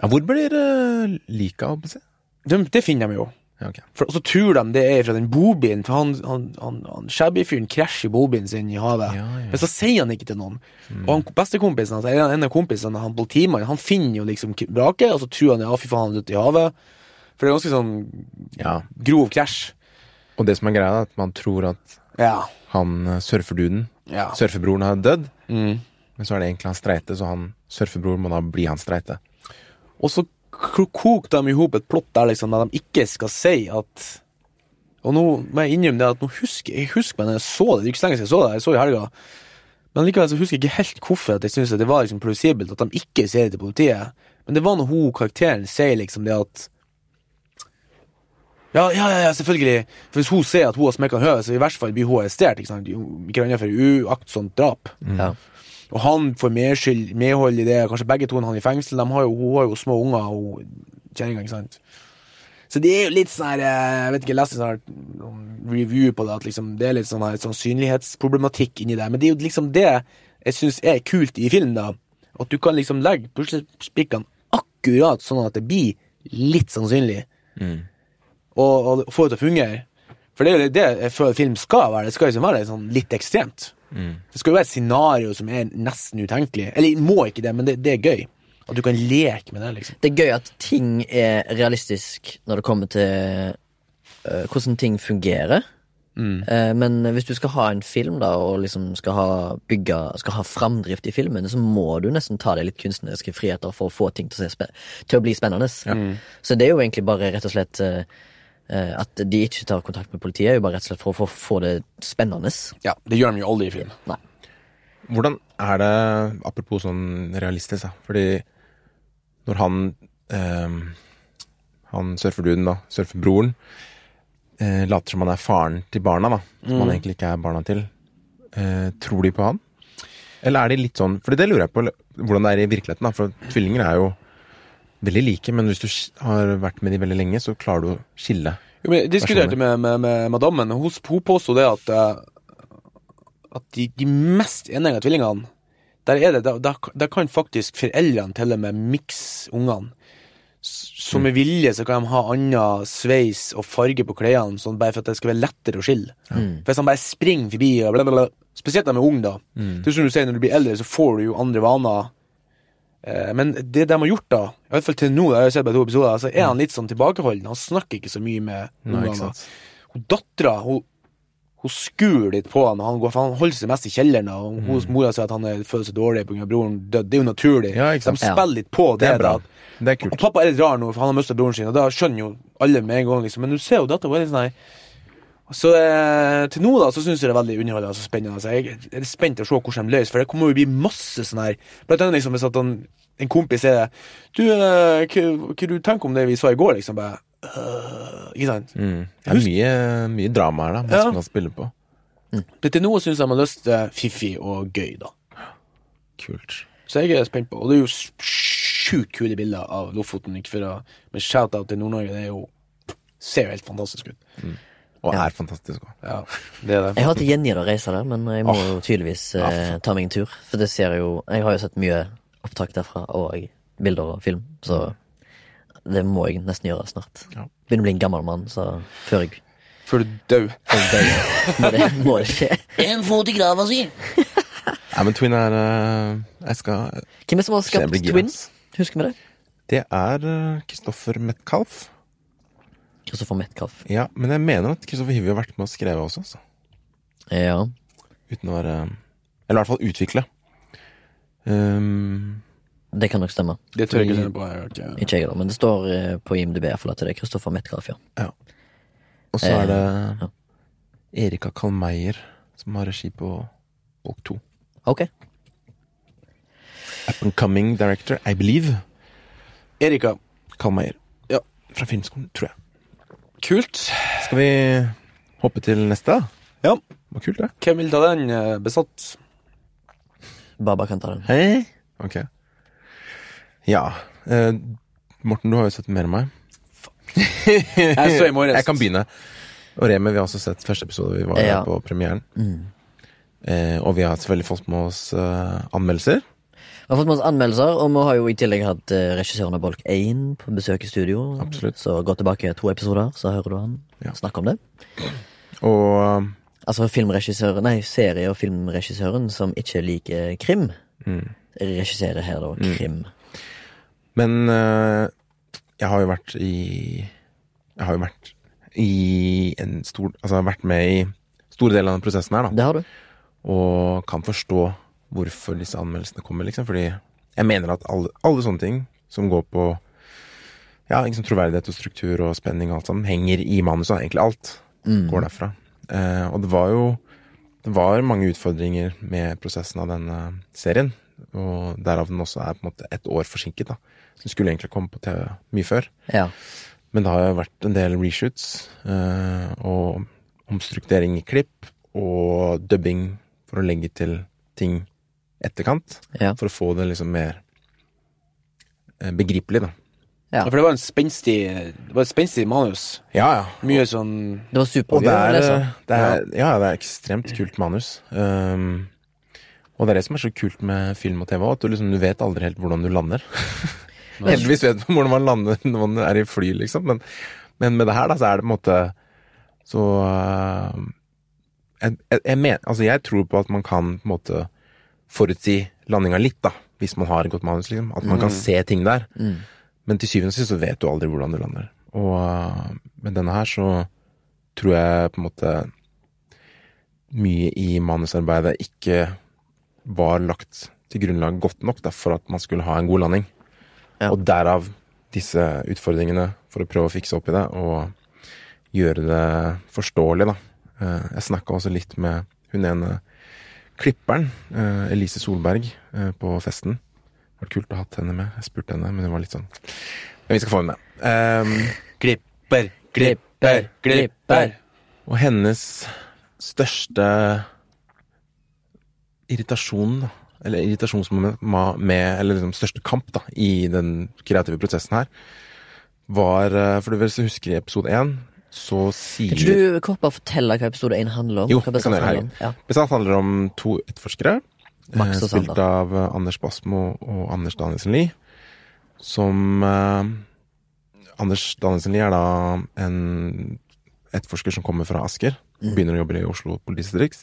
ja, Hvor blir uh, liket av? holdt jeg på å si? Det, det finner de jo. Ja, ok. For, og så tror de det er fra den bobilen, for han, han, han, han shabby-fyren krasjer bobilen sin i havet. Ja, Mm. ja. Men så sier han ikke til noen. Og han bestekompisen hans, eller en av kompisene, han politimannen, han finner jo liksom k- vraket, og så tror han ja, fy faen, han er ute i havet. For det er ganske sånn ja. grov krasj. Og det som er greia, er at man tror at Ja. han eh, surferduden, Ja. surfebroren, har dødd. Mm. Men så er det egentlig han streite, så han surfebroren må da bli han streite. Og så k- koker de i hop et plott der liksom, der de ikke skal si at Og nå må jeg innrømme det at nå husker jeg husker, men jeg så det, det er ikke så lenge siden jeg så det, jeg så det i helga. Men likevel så husker jeg ikke helt hvorfor at jeg synes at det var liksom plausibelt at de ikke sier det til politiet. Men det var når hun karakteren sier liksom det at ja, ja, ja, ja, selvfølgelig. For Hvis hun ser at hun har smekka en høve, så i hvert fall blir hun arrestert. ikke sant? Jo, Ikke annet for uaktsomt drap. Ja. Og han får medskyld, medhold i det, kanskje begge to når han er i fengsel. De har jo, hun har jo små unger, hun kjerringa, ikke sant. Så det er jo litt sånn her eh, Jeg vet ikke, jeg leste en sånn her, um, review på det, at liksom, det er litt sånn her sannsynlighetsproblematikk inni der. Men det er jo liksom det jeg syns er kult i film, da. At du kan liksom legge puslespikkene akkurat sånn at det blir litt sånn sannsynlig, og, og få det til å fungere. For det er jo det jeg føler film skal være. Det skal liksom være sånn litt ekstremt. Det skal jo være et scenario som er nesten utenkelig. Eller må ikke det, men det, det er gøy. At du kan leke med det, liksom. Det er gøy at ting er realistisk når det kommer til eh, hvordan ting fungerer. Eh, men hvis du skal ha en film da, og liksom skal ha, bygge, skal ha framdrift i filmen, så må du nesten ta deg litt kunstneriske friheter for å få ting til å, se spe til å bli spennende. Så det er jo egentlig bare rett og slett eh, eh, at de ikke tar kontakt med politiet, er jo bare rett og slett for å få, få det spennende. Ja, Det gjør de jo aldri i film. Nei. Hvordan er det, apropos sånn realistisk, da, fordi når han eh, Han surferduden, da, surfebroren, eh, later som han er faren til barna, da, som han egentlig ikke er barna til, eh, tror de på han? Eller er de litt sånn For det lurer jeg på eller, hvordan det er i virkeligheten, da, for tvillinger er jo veldig like, men hvis du sk- har vært med de veldig lenge, så klarer du å skille. Jo, men jeg diskuterte med, med, med madammen, og hun, hun påsto det at eh, At de, de mest enegga tvillingene Der er det, der, der, der kan faktisk foreldrene til og med mikse ungene. s- Så med vilje så kan de ha annen sveis og farge på klærne, sånn bare for at det skal være lettere å skille. Mm. For Hvis de bare springer forbi og bla, bla, bla. Spesielt de er unge, da. Mm. Det er som du sier, Når du blir eldre, så får du jo andre vaner. Eh, Men det de har gjort, da, i hvert fall til nå, jeg har jo sett bare to episoder, så er han litt sånn tilbakeholden. Han snakker ikke så mye med Mm. Nei, ikke ungene. sant. Hun Dattera hun, hun skur litt på han, og han, går, for han holder seg mest i kjelleren. da, Mm. Og Hos mora sier at han er- føler seg dårlig pga. broren død. Det er jo naturlig. Ja, ikke sant. De spiller litt på Det det. er bra. da. Det er Og kult. pappa er litt rar nå, for han har mista broren sin, og da skjønner jo alle med en gang. liksom, Men du ser jo dattera hennes, nei. Så eh, til nå da, så syns jeg det er veldig underholdende og så spennende. Så jeg er spent til å se hvordan de løser, for det kommer jo å bli masse sånn her. Blant annet liksom hvis at han, en kompis er det Du, eh, hva, hva du tenker om det vi sa i går? liksom, bare, «Øh», Ikke sant? Mm. Det er mye, mye drama her, da. Masse Ja. man kan spille på. Men til nå syns jeg de har løst det fiffig og gøy, da. Kult. Så jeg er spent på. Og det er jo s- sjukt kule bilder av Lofoten. ikke for å, Men shout-out til Nord-Norge. Det er jo, ser jo helt fantastisk ut. Og er fantastisk òg. Ja, det er det. Jeg har til gjengjeld å reise der, men jeg må jo tydeligvis eh, ta meg en tur. For det ser jeg jo Jeg har jo sett mye opptak derfra, og bilder og film, så det må jeg nesten gjøre snart. Ja. Begynner å bli en gammel mann, så før jeg Før du dør. før jeg dør, må det, må det skje. En fot i grava si. Nei, men Twin er eh, Jeg skal Hvem er det som har Så jeg skapt blir gira, Twin? ass. Husker vi det? Det er eh, Kristoffer Metcalf. Christopher Metcalf. Ja, men jeg mener at Kristoffer Hivju har vært med og skrevet også, altså. Ja. Uten å være eh, Eller i hvert fall utvikle. Um, Det kan nok stemme. Det tør jeg ikke stemme på. Jeg, har ikke. Ikke jeg, da, men det står eh, på IMDb i hvert fall at det er Christopher Metcalf, ja. og så er det Eh, ja. Erika Kalmeier som har regi på Bolk 2. Ok. Up and coming director, I believe. Erika, Kalmeier. Ja. Fra filmskolen, tror jeg. kult. Skal vi hoppe til neste? Ja. Det var kult, det. Hvem vil ta den eh, besatt? Baba kan ta den. Hei. Ok. Ja. eh, Morten, du har jo sett mer enn meg. Jeg så i morges. Jeg kan begynne. Og Remi, vi har også sett første episode. Vi var her Ja. på premieren. Eh, og vi har selvfølgelig fått med oss eh, anmeldelser. Vi har fått med oss anmeldelser, og vi har jo i tillegg hatt eh, regissøren av Bolk 1 på besøk i studio. Absolutt. Så gå tilbake to episoder, så hører du han Ja. snakke om det. Og Altså filmregissøren, nei, serie- og filmregissøren som ikke liker krim, Mm. regisserer her da krim. Men eh, jeg har jo vært i Jeg har jo vært i en stor Altså jeg har vært med i store deler av den prosessen her, da. Det har du. Og kan forstå hvorfor disse anmeldelsene kommer, liksom. Fordi jeg mener at alle, alle sånne ting som går på ja, liksom troverdighet og struktur og spenning og alt sammen, henger i manuset. Egentlig alt går derfra. Eh, og det var jo det var mange utfordringer med prosessen av denne serien. Og derav den også er på en måte et år forsinket. da. Den skulle egentlig komme på TV mye før. Ja. Men det har jo vært en del reshoots eh, og omstrukturering i klipp og dubbing for å legge til ting etterkant. Ja. For å få det liksom mer eh, begripelig, da. Ja. For det var en spenstig Det var et spenstig manus. Ja, ja. Mye sånn Det var Og eh, supergøy det å er, lese. det er, ja, det er ekstremt kult manus. Um, og det er det som er så kult med film og TV òg, at du liksom du vet aldri helt hvordan du lander. Heldigvis vet man hvordan man lander når man er i fly, liksom, men, men med det her, da, så er det på en måte Så uh, jeg, jeg, jeg, men, altså, jeg tror på at man kan på en måte forutsi landinga litt, da, hvis man har et godt manus, liksom. At man kan se ting der. Men til syvende og sist så vet du aldri hvordan du lander. Og øh, med denne her så tror jeg på en måte mye i manusarbeidet ikke var lagt til grunnlag godt nok da, for at man skulle ha en god landing. Ja. Og derav disse utfordringene for å prøve å fikse opp i det og gjøre det forståelig, da. Eh, Jeg snakka også litt med hun ene klipperen, eh, Elise Solberg, eh, på festen. Det var kult å ha hatt henne med. Jeg spurte henne, men hun var litt sånn Men vi skal få henne med. Ehm, Glipper, glipper, glipper. og hennes største irritasjon, da, eller irritasjonsmoment ma- med, eller liksom største kamp da, i den kreative prosessen her, var eh, For du vel så husker i episode én, så sier Kan ikke du kort bare fortelle hva episode 1 handler om? Jo, hva det kan Besatt jeg gjøre. handler om? Ja. Besatt handler om to etterforskere. Max og eh, spilt Sander. av eh, Anders Basmo og Anders Danielsen Lie. Som eh, Anders Danielsen Lie er da en etterforsker som kommer fra Asker. Mm. Begynner å jobbe i Oslo politidistrikt.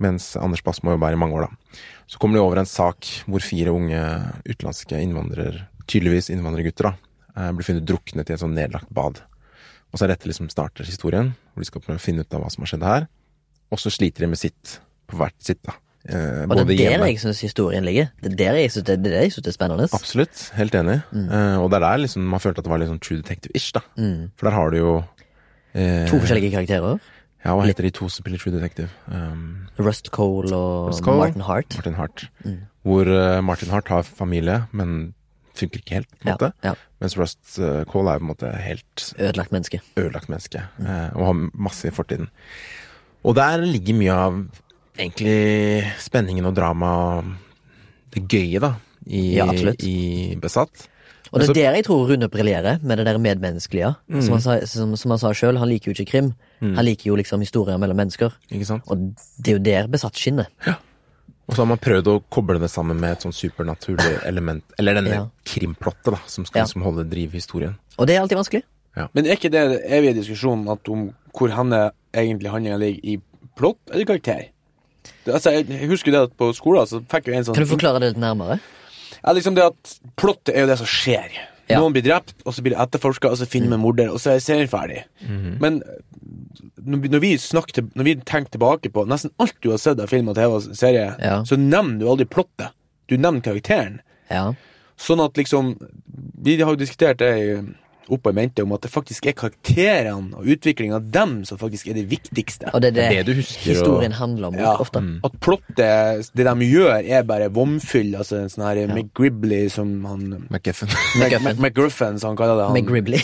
Mens Anders Basmo jobber her i mange år, da. Så kommer de over en sak hvor fire unge utenlandske innvandrere, tydeligvis innvandrergutter, da, eh, blir funnet druknet i et sånn nedlagt bad. Og så er dette liksom starter historien, hvor de skal prøve å finne ut av hva som har skjedd her. Og så sliter de med sitt på hvert sitt, da. Eh, Og det både er der hjemme- jeg syns historien ligger. Det er der jeg synes det, det, er der jeg synes det er spennende. Absolutt. Helt enig. Mm. Eh, og det er der liksom, man følte at det var litt sånn True Detective-ish, da. For der har du jo eh, To forskjellige karakterer. Ja, hva heter de to som spiller True Detective? Um, Rust Cole og Rust Cole. Martin Hart. Mm. Martin Hart. Hvor eh, Martin Hart har familie, men funker ikke helt, på en Ja, måte. ja. Mens Rust eh, Cole er jo på en måte helt Ødelagt menneske. ødelagt menneske, Mm. eh, og har masse i fortiden. Og der ligger mye av egentlig spenningen og dramaet og det gøye, da, i, Ja, absolutt. i Besatt. Og Men det så- er der jeg tror Rune briljerer, med det der medmenneskelige. Som, han sa- som, som han sa sjøl, han liker jo ikke krim. Han liker jo liksom historier mellom mennesker. Ikke sant? Og det er jo der besatt skinner. Og så har man prøvd å koble det sammen med et sånn supernaturlig element, eller denne Ja. krimplottet, da, som skal Ja. liksom holde drive historien. Og det er alltid vanskelig. Men er ikke det den evige diskusjonen at om hvor henne egentlig handlinga ligger i plott eller karakter? Det, altså, jeg husker det at på skolen så fikk jeg en sånn Kan du forklare det litt nærmere? ja, liksom det at Plottet er jo det som skjer. Ja. Noen blir drept, og så blir det etterforska, og så finner man morder, og så er serien ferdig. Men når vi- når vi, snakker, til- når vi tenker tilbake på nesten alt du har sett av film og TV og serie, Ja. så nevner du aldri plottet. Du nevner karakteren. Ja. Sånn at liksom Vi har jo diskutert det i oppe i mente om at det faktisk er karakterene og utviklingen av dem som faktisk er det viktigste. Og det er det, Det du husker, historien handler om Ja. ofte. At plottet, det de gjør, er bare vomfyll. Altså en sånn her McGribley som han McGeffen. McGuffin. Mac- McGriffin, som han kaller det. Han, Med Gribley.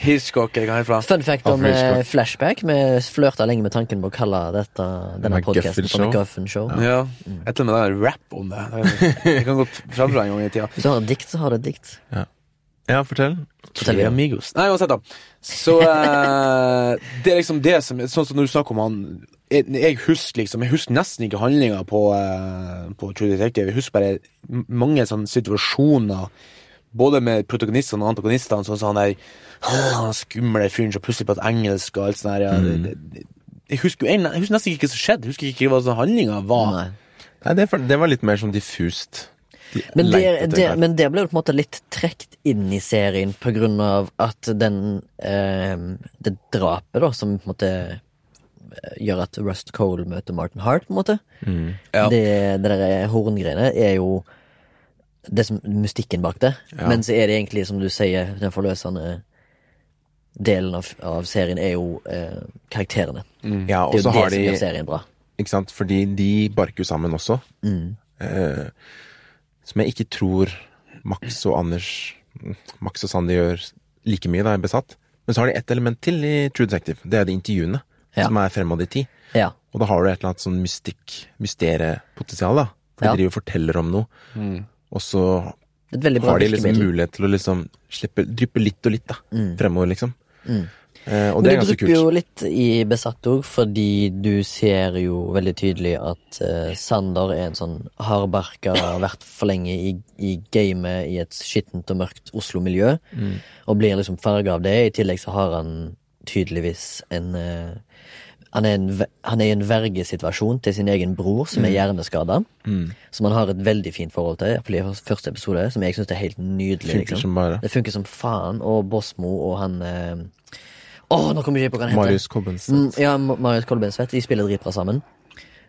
Hitchcock, eller hva han er fra. Fun fact om Alfred Hitchcock. eh, flashback. Vi flørta lenge med tanken på å kalle dette, denne MacGuffin podkasten for Show. McGuffin Show. Ja. Et eller annet rap om det. Jeg kan gå framfra en gang i tida. Hvis du har et dikt, så har du et dikt. ja, fortell. Fortell igjen. Amigos. Nei, uansett, da. Så eh, det er liksom det som Sånn som når du snakker om han Jeg, jeg husker liksom Jeg husker nesten ikke handlinga på, eh, på True Detective. Jeg husker bare m- mange sånne situasjoner. Både med protagonistene og antagonistene, sånn som han der «Åh, han skumle fyren som plutselig prater engelsk og alt sånt der. Ja. Det, det, jeg husker, jo en, jeg husker nesten ikke hva som skjedde. Jeg husker ikke hva sånn handlinga var. Nei. Nei, det, for- det var litt mer sånn diffust. De Men lette det, etter en det, karakter. men det ble jo på en måte litt trukket inn i serien på grunn av at den eh, Det drapet, da, som på en måte eh, gjør at Rust Cole møter Martin Hart, på en måte. Ja. Det, det der eh, horngreiene er jo det som mystikken bak det. Men så er det egentlig, som du sier, den forløsende delen av, av serien er jo eh, karakterene. ja, og så Mm. Det er jo det har som gjør de serien bra. Ikke sant, fordi de barker jo sammen også. Mm. Eh, som jeg ikke tror Max og Anders Max og Sandy gjør like mye, da, i Besatt. Men så har de ett element til i True Detective. Det er de intervjuene Ja. som er fremad i tid. Ja. Og da har du et eller annet sånn mystikk, mysteriepotensial, da. For Ja. de driver og forteller om noe, Mm. og så Det er Et veldig bra har de liksom virkemiddel. Mm. mulighet til å liksom slippe, dryppe litt og litt, da. Fremover, liksom. Eh, og Men det er ganske Du kult. drypper jo litt i Besatt òg, fordi du ser jo veldig tydelig at eh, Sander er en sånn hardbarka, har vært for lenge i, i gamet i et skittent og mørkt Oslo-miljø, Mm. og blir liksom farga av det. I tillegg så har han tydeligvis en eh, han er, en, ve- han er i en vergesituasjon til sin egen bror, som er Mm. hjerneskada. Som han har et veldig fint forhold til, iallfall i første episode, som jeg syns er helt nydelig. Funker som liksom, bare. Det liksom. funker som faen. Og Bosmo og han eh, Åh, nå kommer jeg ikke på hva han heter. Marius Cobbensen. Mm, ja, Ma- Marius Kolbensvedt. De spiller dritbra sammen.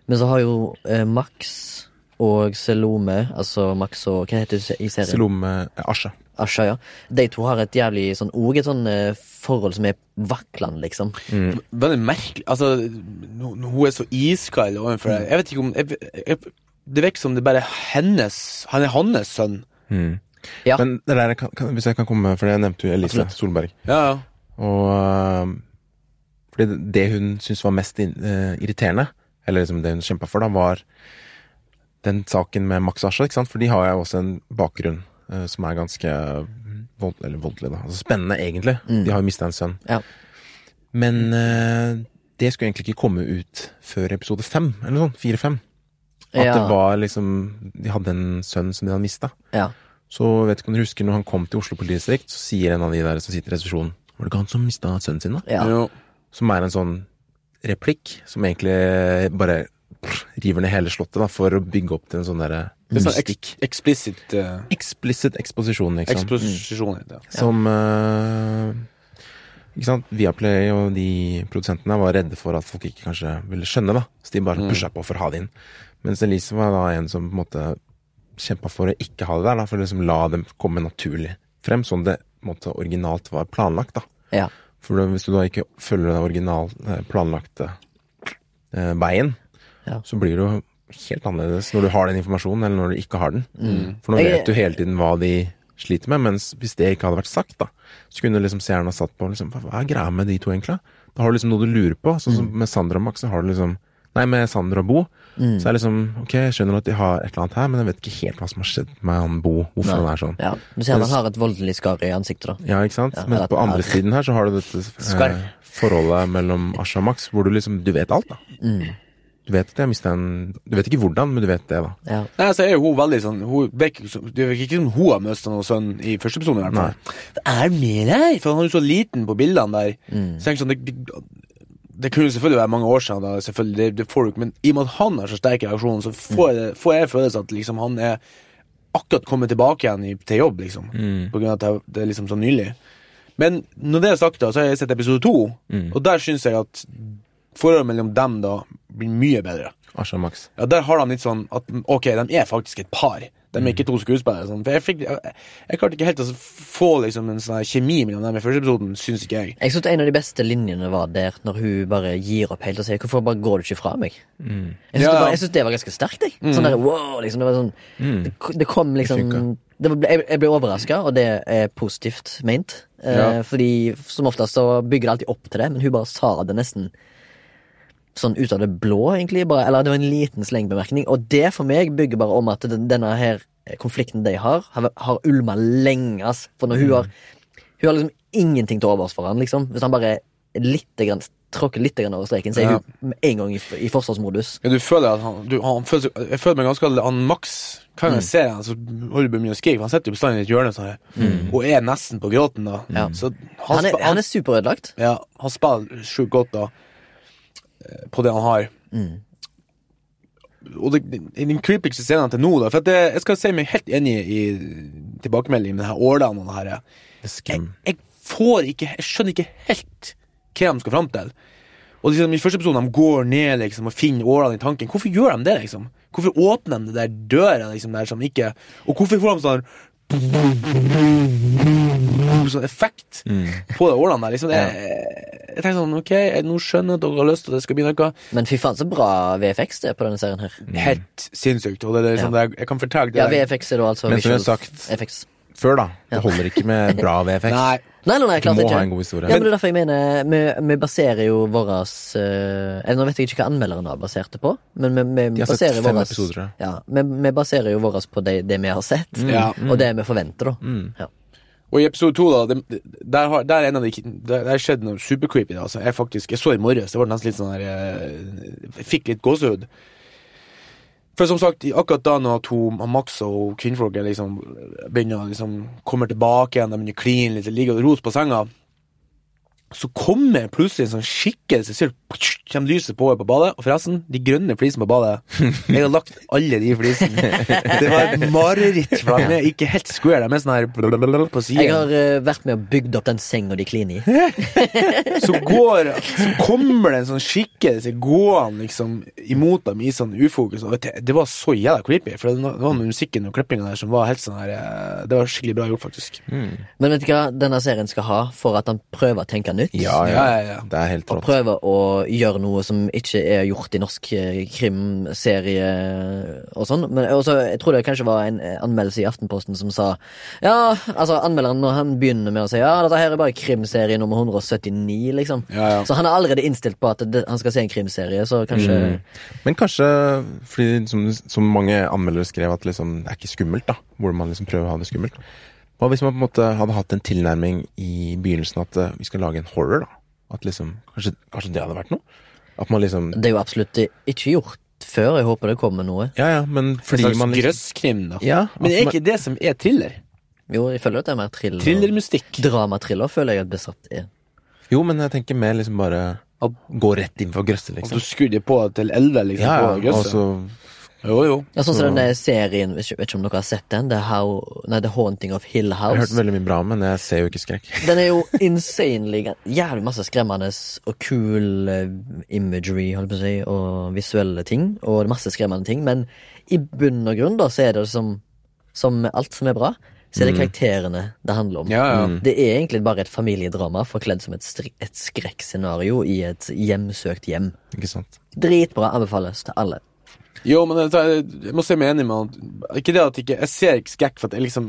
Men så har jo eh, Max og Selome, altså Max og Hva heter hun i serien? Selome eh, Asha. Asha, ja. De to har et jævlig sånn òg et sånn eh, forhold som er vaklende, liksom. Veldig merkelig Altså, no- no- hun er så iskald overfor deg. Jeg vet ikke om jeg, jeg, Det virker som det bare er hennes Han er hans sønn. Ja. Mm. Men det der, kan, kan, hvis jeg kan komme, for jeg nevnte jo Elise Absolutt. Solberg. Ja, ja. Og eh, fordi det- det hun syntes var mest in, eh, irriterende, eller liksom det hun kjempa for, da, var den saken med Max og Asha, ikke sant? for de har jo også en bakgrunn eh, som er ganske vold, eller voldelig, da. Altså spennende, egentlig. Mm. De har jo mista en sønn. Ja. Men eh, det skulle egentlig ikke komme ut før episode fem, eller noe sånt. Fire-fem. At Ja. det var liksom De hadde en sønn som de hadde mista. ja. Så vet ikke om dere husker, når han kom til Oslo politidistrikt, så sier en av de der som sitter i resepsjonen Var det ikke han som mista sønnen sin, da? Ja. Jo. Som er en sånn replikk som egentlig eh, bare prr, river ned hele slottet, da, for å bygge opp til en sånn derre Det er sånn mystikk. eks eksplisitt eh, Explicit eksposisjon, Mm. ikke sant. eksposisjon. heter det. Som eh, ikke sant? Viaplay og de produsentene var redde for at folk ikke kanskje ville skjønne, da. Så de bare pusha på for å ha det inn. Mens Elise var da en som på en måte kjempa for å ikke ha det der, da. For å liksom la dem komme naturlig frem, sånn det på en måte originalt var planlagt, da. Ja. For da- hvis du da ikke følger den original eh, planlagte eh, veien, Ja. så blir det jo helt annerledes når du har den informasjonen, eller når du ikke har den. For nå Jeg- vet du hele tiden hva de sliter med, mens hvis det ikke hadde vært sagt, da, så kunne liksom seeren ha satt på liksom, Hva hva er greia med de to, egentlig? Da har du liksom noe du lurer på. Sånn Mm. som med Sander og Max, så har du liksom Nei, med Sander og Bo, Mm. så er det liksom Ok, jeg skjønner at de har et eller annet her, men jeg vet ikke helt hva som har skjedd med han Bo, hvorfor han er sånn. ja. Du ser han har et voldelig skar i ansiktet, da. Ja, ikke sant? Ja, Men eller at på den andre er- siden her så har du dette Skarp. eh, forholdet mellom Asha og Max, hvor du liksom Du vet alt, da. Mm. Du vet at jeg mista en Du vet ikke hvordan, men du vet det, da. Ja. Nei, så er jo hun veldig sånn hun virker ikke som- Det virker ikke som hun har mista noen sønn i første episode. i hvert fall. Hva er det med deg? For han er jo så liten på bildene der. Så jeg tenker sånn, det, det, det kunne selvfølgelig være mange år siden, da, selvfølgelig, det, det får du ikke, men i og med at han har så sterk reaksjon, så får, jeg- får jeg følelsen at liksom, han er akkurat kommet tilbake igjen i, til jobb, liksom. På grunn av at det, det er liksom så nylig. Men når det er sagt, da, så har jeg sett episode to, og der syns jeg at forholdet mellom dem da blir mye bedre. Asha og Max. Ja, Der har de litt sånn at ok, de er faktisk et par. De er ikke to skuespillere. Sånn. For jeg, fikk, jeg, jeg klarte ikke helt å få liksom, en sånn her kjemi mellom dem i første episoden, syns ikke jeg. Jeg synes en av de beste linjene var der når hun bare gir opp helt og sier 'Hvorfor bare går du ikke fra meg?' Jeg Ja. synes det, bare, jeg synes det var ganske sterkt. Jeg. Sånn der, wow, liksom, det, var sånn, det, det kom liksom det ble, Jeg jeg ble overraska, og det er positivt meint. Eh, Ja. Fordi som oftest så bygger det alltid opp til det, men hun bare sa det nesten sånn ut av det blå, egentlig. Bare, eller det var en liten slengbemerkning. Og det for meg bygger bare om at den, denne her konflikten de har, har, har ulma lenge, ass. For Mm. når hun har Hun har liksom ingenting til overs for han, liksom. Hvis han bare litt grann, tråkker litt grann over streken, så er Ja. hun med en gang i, i forsvarsmodus. Ja, du føler at han, du, han føler, seg- Jeg føler meg ganske alle- han Max kan jeg se han, så holder på mye å skrike. for Han sitter jo bestandig i et hjørne sånn, her, og er nesten på gråten. da Mm. Ja. Så han, Han er, sp- han er superødelagt. ja, han spiller sjukt godt da eh, på det han har. Mm. Og det, i den creepigste scenen til nå, da For at det, jeg skal si meg helt enig i tilbakemeldingen med denne Årdalen og det her. er Det er skum. jeg får ikke Jeg skjønner ikke helt hva de skal fram til. Og liksom, I første episode de går ned liksom, og finner årene i tanken. Hvorfor gjør de det? liksom? Hvorfor åpner de det der døra liksom, der som ikke Og hvorfor får de sånn Sånn effekt Mm. på de årene der? liksom? Det, jeg tenker sånn, ok, jeg nå skjønner jeg at dere har lyst til at det skal bli noe. Men fy faen, så bra VFX det er på denne serien her. Helt sinnssykt. og det er liksom, det jeg, jeg kan fortelle det. Ja, VFX er da altså Men som jeg visual har sagt- effects. Før, da. Det holder ikke med bra VFX. Nei, Nei, nei, nei, klart må ikke. ha en god historie. Ja, men det er derfor jeg mener Vi, vi baserer jo våras eh, eller Nå vet jeg ikke hva anmelderen har basert det på, men vi, vi, De har sett baserer fem våras- episoder, Mm. tror jeg. Ja, vi, vi baserer jo våras på det, det vi har sett, Ja. og det vi forventer, da. Mm. Ja. Og i episode to, da, det, der, har, der er en av de Der, der skjedde noe supercreepy. da, Altså. Jeg faktisk, jeg så i morges, det var nesten litt sånn her eh, Jeg fikk litt gåsehud. For som sagt, i- akkurat da når at hun, han Max og kvinnfolket liksom begynner å liksom kommer tilbake igjen, de begynner å kline litt, det ligger og rot på senga, så kommer plutselig en sånn skikkelse, ser du, ptsj, kommer lyset på her på badet, og forresten, de grønne flisene på badet, jeg har lagt alle de flisene. Det var et mareritt, for de er ikke helt square, de er sånn her blablabla på siden. Jeg har eh, vært med og bygd opp den senga de kliner i. så, går, så kommer det en sånn skikkelse gående liksom, imot dem i sånn ufokus. Og det, det var så jævla creepy, for det var med musikken og klippinga der som var helt sånn her eh, Det var skikkelig bra gjort, faktisk. Mm. Men vet du hva denne serien skal ha for at han prøver å tenke nytt? Ja, ja, Ja, ja, ja. Det er helt Og rått. prøver å gjøre noe som ikke er gjort i norsk eh, krimserie og sånn. Men også, jeg tror det kanskje var en eh, anmeldelse i Aftenposten som sa Ja, altså anmelderen når han begynner med å si Ja, dette her er bare krimserie nummer 179, liksom. Ja, ja. Så han er allerede innstilt på at det, han skal se en krimserie, så kanskje Mm. Men kanskje fordi som, som mange anmeldere skrev, at liksom, det er ikke skummelt, da. Hvor man liksom prøver å ha det skummelt. Hva hvis man på en måte hadde hatt en tilnærming i begynnelsen at eh, vi skal lage en horror, da? At liksom, kanskje, kanskje det hadde vært noe? At man liksom Det er jo absolutt ikke gjort før. Jeg håper det kommer noe. Ja, ja, men En fordi slags man liksom sånn grøsskrim, da. ja, Altså, Men det at er man- ikke det som er thriller. Jo, jeg føler at det er mer thriller. Thrillermystikk. Dramatriller føler jeg at Besatt er. Jo, men jeg tenker mer liksom bare At- Gå rett inn for grøsse, At liksom. du skrur det på til elleve, liksom. Ja, altså, ja, og på grøsset. så Jo, jo. Ja, sånn som den der serien, vet ikke, vet ikke om dere har sett den, The, How, nei, The Haunting of Hill Jeg har hørt House. veldig mye bra, men jeg ser jo ikke skrekk. Den er jo insanely Jævlig masse skremmende og cool eh, imagery, holdt på å si, og visuelle ting, og det er masse skremmende ting, men i bunn og grunn, da, så er det som, som med alt som er bra, så er det karakterene det handler om. Ja, Mm. ja. Det er egentlig bare et familiedrama forkledd som et, stri- et skrekkscenario i et hjemsøkt hjem. Ikke sant? Dritbra anbefales til alle. Jo, men jeg, tar- jeg må si meg enig med han. Ikke det at jeg ikke Jeg ser ikke skrekk for at jeg liksom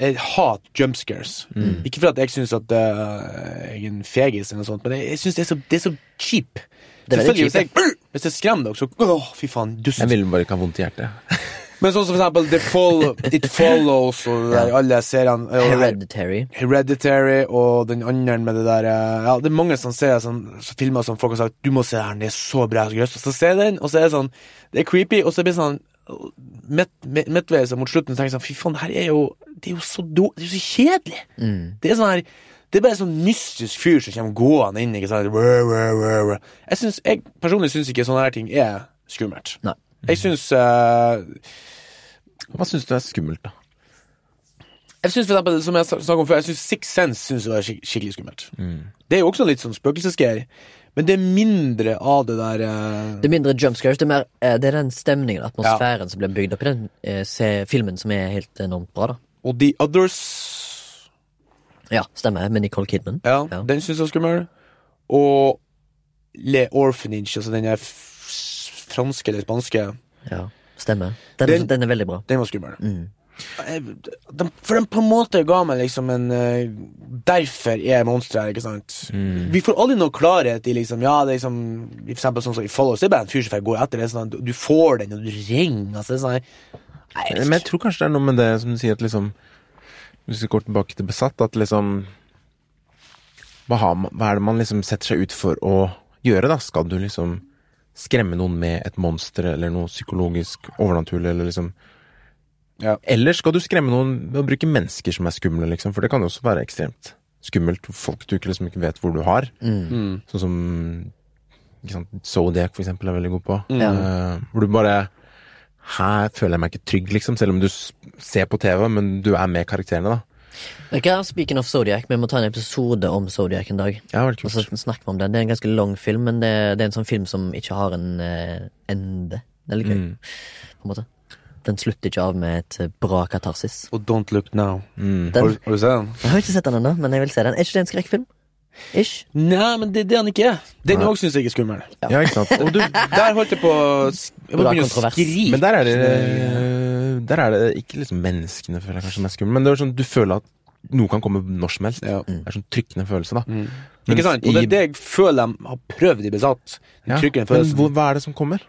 Jeg hater jump scares. Mm. Ikke for at jeg syns at eh, jeg er en fegis, eller noe sånt, men jeg, jeg syns det, er så- det er så cheap. Det er veldig Selvfølgelig, cheap, Hvis jeg, hvis jeg skremmer dere, så Åh, fy faen, dust. Jeg ville bare ikke ha vondt i hjertet. Men sånn som for eksempel The Fall, It Follows og det der, alle seriene og- Hereditary. Hereditary og den andre med det der eh, Ja, det er mange som ser sånn, så filmer som folk har sagt 'Du må se den, det er så bra', så grøss. Og så ser jeg den, og så er det sånn Det er creepy, og så blir det sånn midt, midt, Midtveis og mot slutten så tenker jeg sånn Fy faen, det her er jo Det er jo så do... Det er jo så kjedelig! Det er sånn her Det er bare sånn mystisk fyr som kommer gående inn, ikke sant Rå, rå, rå, rå. Jeg synes, jeg personlig syns ikke sånne her ting er skummelt. Nei. Jeg syns eh, Hva syns du er skummelt, da? Jeg synes for eksempel, som jeg snak- snakket om før, jeg synes Six Sense synes jeg var skik skikkelig skummelt. Det er jo også litt sånn spøkelsesgreier, men det er mindre av det der eh, Det er mindre jump scares, det er, mer, eh, det er den stemningen, atmosfæren som blir bygd opp i den eh, se, filmen, som er helt enormt bra, da. Og The Others Ja, stemmer. Med Nicole Kidman. Ja, Ja. den synes jeg var skummel. Og Le Orphanage, altså den der f- franske eller spanske, Ja, stemmer. Den, Den- den, er veldig bra. den var skummel. Mm. Jeg- Eh, de- For den på en måte ga meg liksom en eh, Derfor er monstre her, ikke sant? Vi får aldri noe klarhet i liksom Ja, det er liksom i For eksempel sånn som i Follows, det er bare en fyr som får gå etter det. er Sånn, at du får den, og du ringer altså, det er sånn, her- Nei, jeg vet Men jeg ikke. tror kanskje det er noe med det som du sier, at liksom Hvis vi går tilbake til besatt, at liksom hva, har man, hva er det man liksom setter seg ut for å gjøre, da? Skal du liksom skremme noen med et monster eller noe psykologisk overnaturlig, eller liksom Ja. Eller skal du skremme noen ved å bruke mennesker som er skumle, liksom? For det kan jo også være ekstremt skummelt. Folk du ikke, liksom ikke vet hvor du har. Mm. Sånn som ikke sant, Zodiac, for eksempel, er veldig god på. Mm. Eh, hvor du bare Her føler jeg meg ikke trygg, liksom. Selv om du s- ser på TV, men du er med karakterene, da. Vet du hva, Speaking of Zodiac, vi må ta en episode om Zodiac en dag. Ja, veldig Og kult. Altså, så snakker vi om den. Det er en ganske lang film, men det, det er en sånn film som ikke har en eh, ende. Det er litt gøy, Mm. på en måte. Den slutter ikke av med et eh, bra katarsis. Og Don't Look Now. Har, Den, du- har du sett den? jeg har ikke sett den ennå, men jeg vil se den. Er ikke det en skrekkfilm? Ish? Nei, men det er det han ikke er. Den òg syns jeg er skummel. ja. ikke sant. Og du, Der holdt jeg på å sk- Jeg må Bra begynne å kontrovers. skrike. men der er det eh, Der er det ikke liksom menneskene føler jeg kanskje som er skumle, men det er sånn du føler at noe kan komme når som helst. Ja. Det er sånn trykkende følelse, da. Mm. Ikke sant? Og det er det jeg føler de har prøvd i Besatt. Den Ja, trykker den men følelsen. hvor, hva er det som kommer?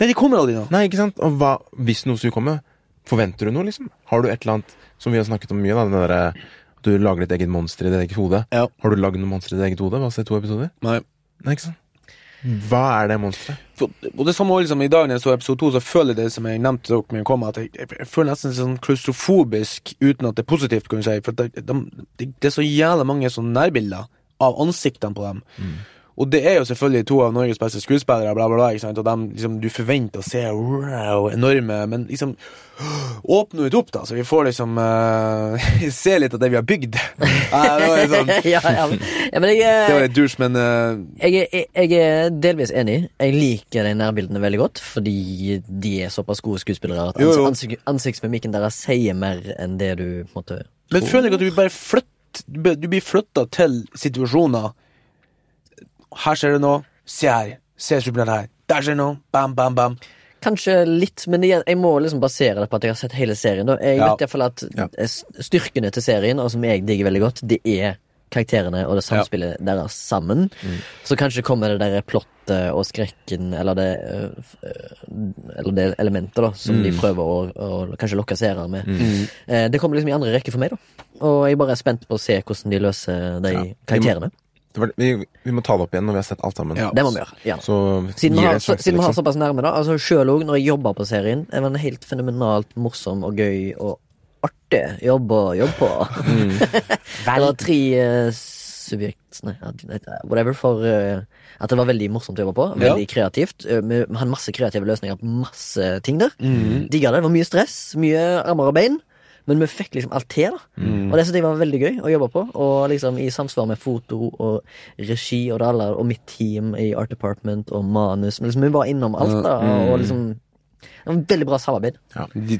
Nei, de kommer aldri nå. Nei, ikke sant? Og hva, hvis noe skulle komme, forventer du noe, liksom? Har du et eller annet som vi har snakket om mye, da, den derre at du lager ditt eget monster i ditt eget hode. Ja. Har du lagd noe monster i ditt eget hode? Hva ser to episoder? Nei. Nei, ikke sant? Hva er det monsteret? For, og det samme også, liksom, I dag når jeg så episode to, så føler jeg det som jeg nevnte til dere, når jeg kom, at jeg, jeg, jeg føler nesten sånn klaustrofobisk uten at det er positivt. Kunne jeg si, for det, de, det, det er så jævla mange sånne nærbilder av ansiktene på dem. Og det er jo selvfølgelig to av Norges beste skuespillere, bla, bla, bla, ikke sant? og dem liksom, du forventer å se wow, enorme Men liksom Åpne ut opp, da, så vi får liksom eh, se litt av det vi har bygd. Nei, det var litt sånn, ja, ja, men, ja, men jeg, det var eh, litt douche, men eh, jeg, er- jeg er delvis enig. Jeg liker de nærbildene veldig godt, fordi de er såpass gode skuespillere at Jo, jo. ansik ansiktsmimikken deres sier mer enn det du på en måte Men føler ikke at du blir bare flytt Du blir- du blir flytta til situasjoner Her skjer det noe Se her, se superhelten her Der skjer det noe, bam, bam, bam Kanskje litt, men igjen, jeg må liksom basere det på at jeg har sett hele serien. Da. Jeg Ja. vet i hvert fall at Ja. eh, s- styrkene til serien, og som jeg digger veldig godt, det er karakterene og det samspillet deres sammen. Så kanskje kommer det der plottet og skrekken, eller det, eh, f- eh, eller det elementet da, som de prøver å, å kanskje lokke seere med. Eh, Det kommer liksom i andre rekke for meg, da. Og jeg bare er spent på å se hvordan de løser de Ja. karakterene. Det var, vi, vi må ta det opp igjen når vi har sett alt sammen. Ja. Det må vi gjøre. gjerne. Så Siden vi gir har, det en så, sjanse, siden vi har liksom. såpass nærme, da. Altså Sjøl òg, når jeg jobba på serien, det var en helt fenomenalt morsom og gøy og artig jobb å jobbe på. Mm. det var tre eh, subjekt Nei, whatever for eh, at det var veldig morsomt å jobbe på. Ja. Veldig kreativt. Eh, Vi hadde masse kreative løsninger på masse ting der. Mm. Digga det. Det var mye stress, mye armer og bein. Men vi fikk liksom alt til, da. Mm. Og det synes jeg var veldig gøy å jobbe på. Og liksom i samsvar med foto og regi og det alle, og mitt team i Art Department og manus. Men liksom, vi var innom alt, da. mm. Og liksom det var en Veldig bra samarbeid. De,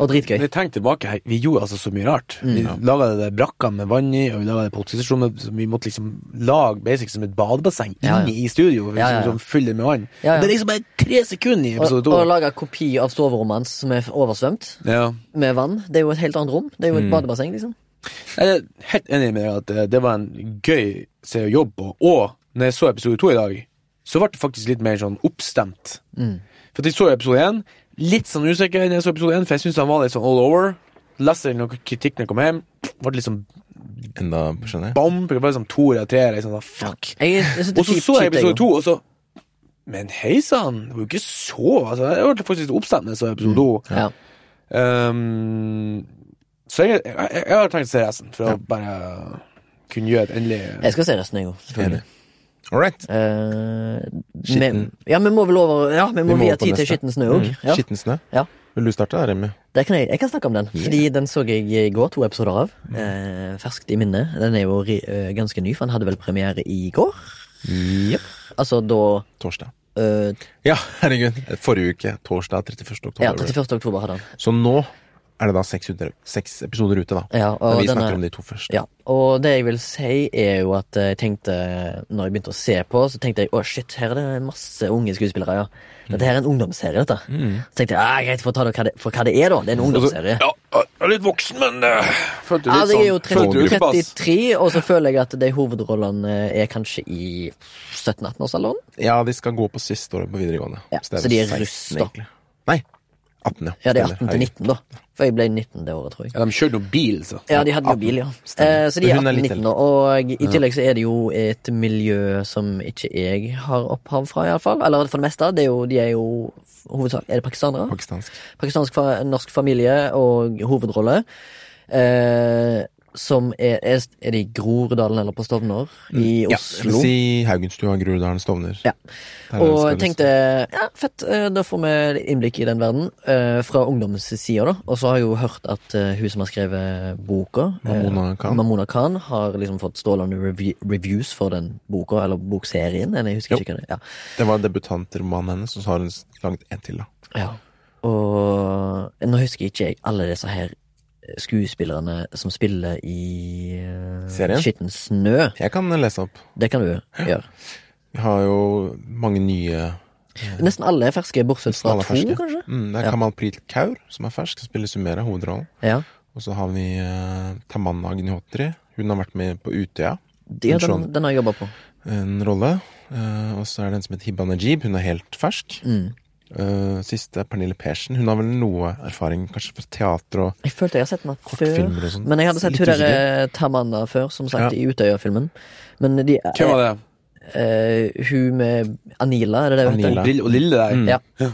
Og dritgøy. Når jeg tenker tilbake her, vi gjorde altså så mye rart. Mm. Vi laga det der brakka med vann i, og vi laga det politistasjonen som vi måtte liksom lage basic som et badebasseng Ja, ja. inne i studio. Liksom, Ja, ja, ja. Som fyller med vann. Ja, ja. Det er liksom bare tre sekunder i Og, episode og to. lage kopi av soverommet hans som er oversvømt Ja. med vann. Det er jo et helt annet rom. Det er jo et badebasseng, liksom. Jeg er helt enig med deg at eh, det var en gøy serie å jobbe på. Og når jeg så episode to i dag, så ble det faktisk litt mer sånn oppstemt. For at jeg så episode én, litt sånn usikker når jeg så episode én, for jeg syntes han var litt sånn all over. Leste noen kritikk når jeg kom hjem. Ble litt sånn Enda, skjønner jeg. bam, det var liksom to eller tre, liksom, sånn, fuck. Jeg, jeg synes det er Og så kjipt- så jeg kjipt, episode jeg to, og så Men hei sann, det var jo ikke så altså, Jeg ble faktisk litt oppstemt da jeg så episode to. også. Ja. Ehm, så jeg, jeg, jeg, jeg har tenkt å se resten, for å bare kunne gjøre et endelig Jeg skal se resten, jeg òg. Enig. All right. Uh, Skitten. ja, vi må vel over Ja, vi Vi må må vie over på tid til neste. skitten snø òg. Mm. Ja. Skitten snø. Ja. Vil du starte, da, Remi? Det kan jeg, jeg kan snakke om den, fordi den så jeg i går, to episoder av. Eh, ferskt i minne. Den er jo ri, eh, ganske ny, for den hadde vel premiere i går? Jepp. Altså da Torsdag. eh, Ja, herregud. Forrige uke, torsdag 31. oktober. Ja, 31. oktober hadde han. Så nå er det da seks, under, seks episoder ute, da. Ja, og Men vi denne- snakker om de to først. Ja, og det jeg vil si er jo at eh, jeg tenkte Når jeg begynte å se på, så tenkte jeg å shit, her er det masse unge skuespillere. ja Mm. Dette her er en ungdomsserie. dette Så tenkte jeg ah, greit, for, ta det, hva det, for hva det er, da. Det er en ungdomsserie. Altså, Ja, jeg er litt voksen, men uh, følte litt Altså, jeg er jo sånn følte 30, utilpass. 33, og så føler jeg at de hovedrollene er kanskje i 17-18-årsalderen. Ja, de skal gå på siste året på videregående. Ja, det så de er vel russ, 16, da. egentlig. Nei. 18, ja. Ja, det er Stemmer. 18 til 19, da. For jeg ble 19 det året, tror jeg. Ja, de kjørte jo bil, så. Ja, de hadde jo bil, ja. Eh, så de Men er hun er 18 litt 19 nå. Og i tillegg så er det jo et miljø som ikke jeg har opphav fra, iallfall. Eller for det meste. Det er jo, de er jo hovedsak Er det pakistanere? Pakistansk. pakistansk fa norsk familie og hovedrolle. Eh, som er, er, er det i Groruddalen eller på Stovner? I Mm, Oslo? Ja, si Haugenstua, Groruddalen, Stovner. Ja. Der er det Og skal jeg tenkte ja, fett, eh, da får vi litt innblikk i den verden eh, fra ungdommens side. da Og så har jeg jo hørt at eh, hun som har skrevet boka, eh, Mamona Khan. Mamona Khan har liksom fått strålende revi- reviews for den boka, eller bokserien. eller Jeg husker ikke hva det er. Ja. Det var en debutantroman hennes, og så har hun laget en til, da. Ja. Og nå husker ikke jeg alle disse her eh, skuespillerne som spiller i eh, Serien? Skitten snø. Jeg kan lese opp. Det kan du gjøre. Vi har jo mange nye Nesten alle er ferske, bortsett fra Alle to, ferske. kanskje. Mm, det er Kamal Prit Kaur, som er fersk, som spiller Sumera, hovedrollen. Ja. Og så har vi eh, Tamanna Agnihotri. Hun har vært med på Utøya, ja den, Skjønner. den har jeg jobba på. en rolle. Eh, og så er det en som heter Hibba Najib. Hun er helt fersk. Mm. Eh, siste er Pernille Persen. Hun har vel noe erfaring kanskje fra teater og Jeg følte jeg har sett den her Kortfilmer og før. sånn. Men jeg hadde sett Litt hun der eh, Tamanna før, som sagt, Ja. i Utøya-filmen. Men de Hvem var det? eh, Hun med Anila, er det det hun Anila. heter? Brill og Lille der. Eh, Mm. Ja.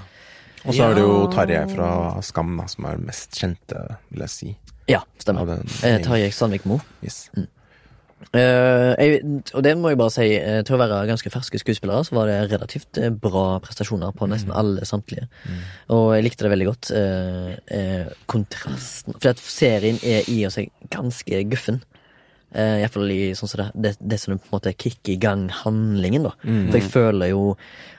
Og så er det jo Ja. Tarjei fra Skam, da, som er mest kjente, vil jeg si. ja, Av stemmer. den Eh, gjengen. Tarjei Sandvik Moe. Yes. Mm. Eh, jeg, og det må jeg bare si, eh, til å være ganske ferske skuespillere, så var det relativt eh, bra prestasjoner på nesten Mm. alle samtlige. Og jeg likte det veldig godt. eh, eh, kontrasten For at serien er i og seg ganske guffen. Uh, Iallfall i sånn som det, det, det som på en måte kicker i gang handlingen, da. For jeg føler jo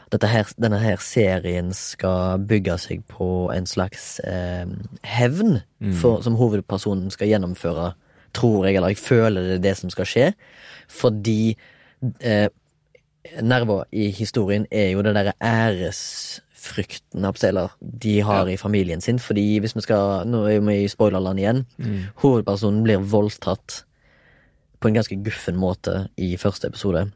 dette her, denne her serien skal bygge seg på en slags eh, hevn for, som hovedpersonen skal gjennomføre, tror jeg, eller jeg føler det er det som skal skje. Fordi eh, nerver i historien er jo den derre æresfrykten, holdt på å si, eller de har i familien sin. Fordi hvis vi skal Nå er vi i spoilerland igjen. Hovedpersonen blir voldtatt på en ganske guffen måte i første episode.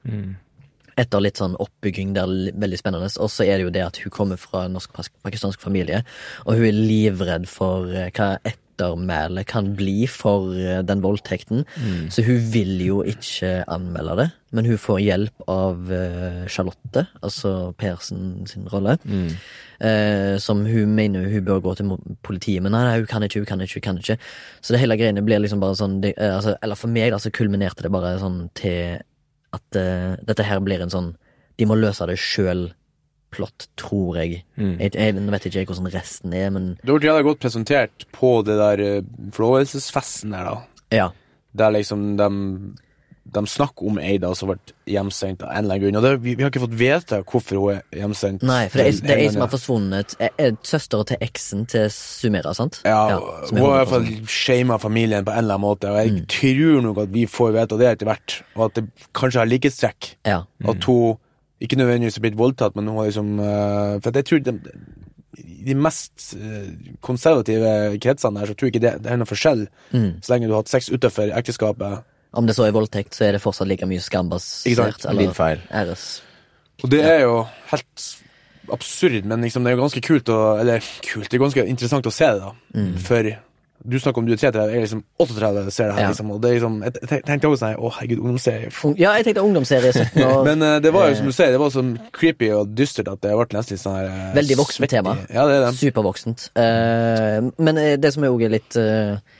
Etter litt sånn oppbygging der, l- veldig spennende. Og så er det jo det at hun kommer fra en norsk-pakistansk familie, og hun er livredd for eh, hva et ettermæle kan bli for eh, den voldtekten. Så hun vil jo ikke anmelde det, men hun får hjelp av eh, Charlotte, altså Persen sin rolle, eh, som hun mener hun bør gå til mo- politiet, men nei, nei, hun kan ikke, hun kan ikke, hun kan ikke. Så det hele greiene blir liksom bare sånn, det, eh, altså, eller for meg da, så kulminerte det bare sånn til at eh, dette her blir en sånn, de må løse det sjøl. Plott, tror jeg. Mm. jeg, jeg nå vet ikke jeg hvordan resten er, men Det ble jævla godt presentert på det der eh, forlovelsesfesten der, da. ja. Der liksom de, de snakker om ei da som ble hjemsendt av en eller annen grunn. Og det, vi, vi har ikke fått vite hvorfor hun er hjemsendt. Nei, for det er, til det er ei som England, har forsvunnet. Er- er Søstera til eksen til Sumera, sant? Ja, ja som Hun Mm. er har i hvert 100%. fall shama familien på en eller annen måte, og jeg tror nok at vi får vite det etter hvert, og at det kanskje har likhetstrekk. Ja. At hun ikke nødvendigvis har blitt voldtatt, men hun har liksom eh, For at jeg tror de, de mest eh, konservative kretsene der, så tror jeg ikke det, det er noe forskjell. Mm. Så lenge du har hatt sex utenfor ekteskapet. Om det så er voldtekt, så er det fortsatt like mye Ikke skambasert. sant? Din feil. æres. Og det er jo helt absurd, men liksom, det er jo ganske kult å Eller kult, det er ganske interessant å se det, da. Mm. For du snakker om du er 33, jeg er liksom 38 ser det her, Ja. liksom. Og det er liksom Jeg te- tenkte også sånn her, Å, herregud, ungdomsserie. f- Ung- Ja, jeg tenkte ungdomsserie 17 år. Men eh, det var jo som du sier, det var så creepy og dystert at det ble nesten litt sånn her eh, Veldig voksent svettig. tema. Ja, det er det. Supervoksent. Eh, men eh, det som er også er litt eh,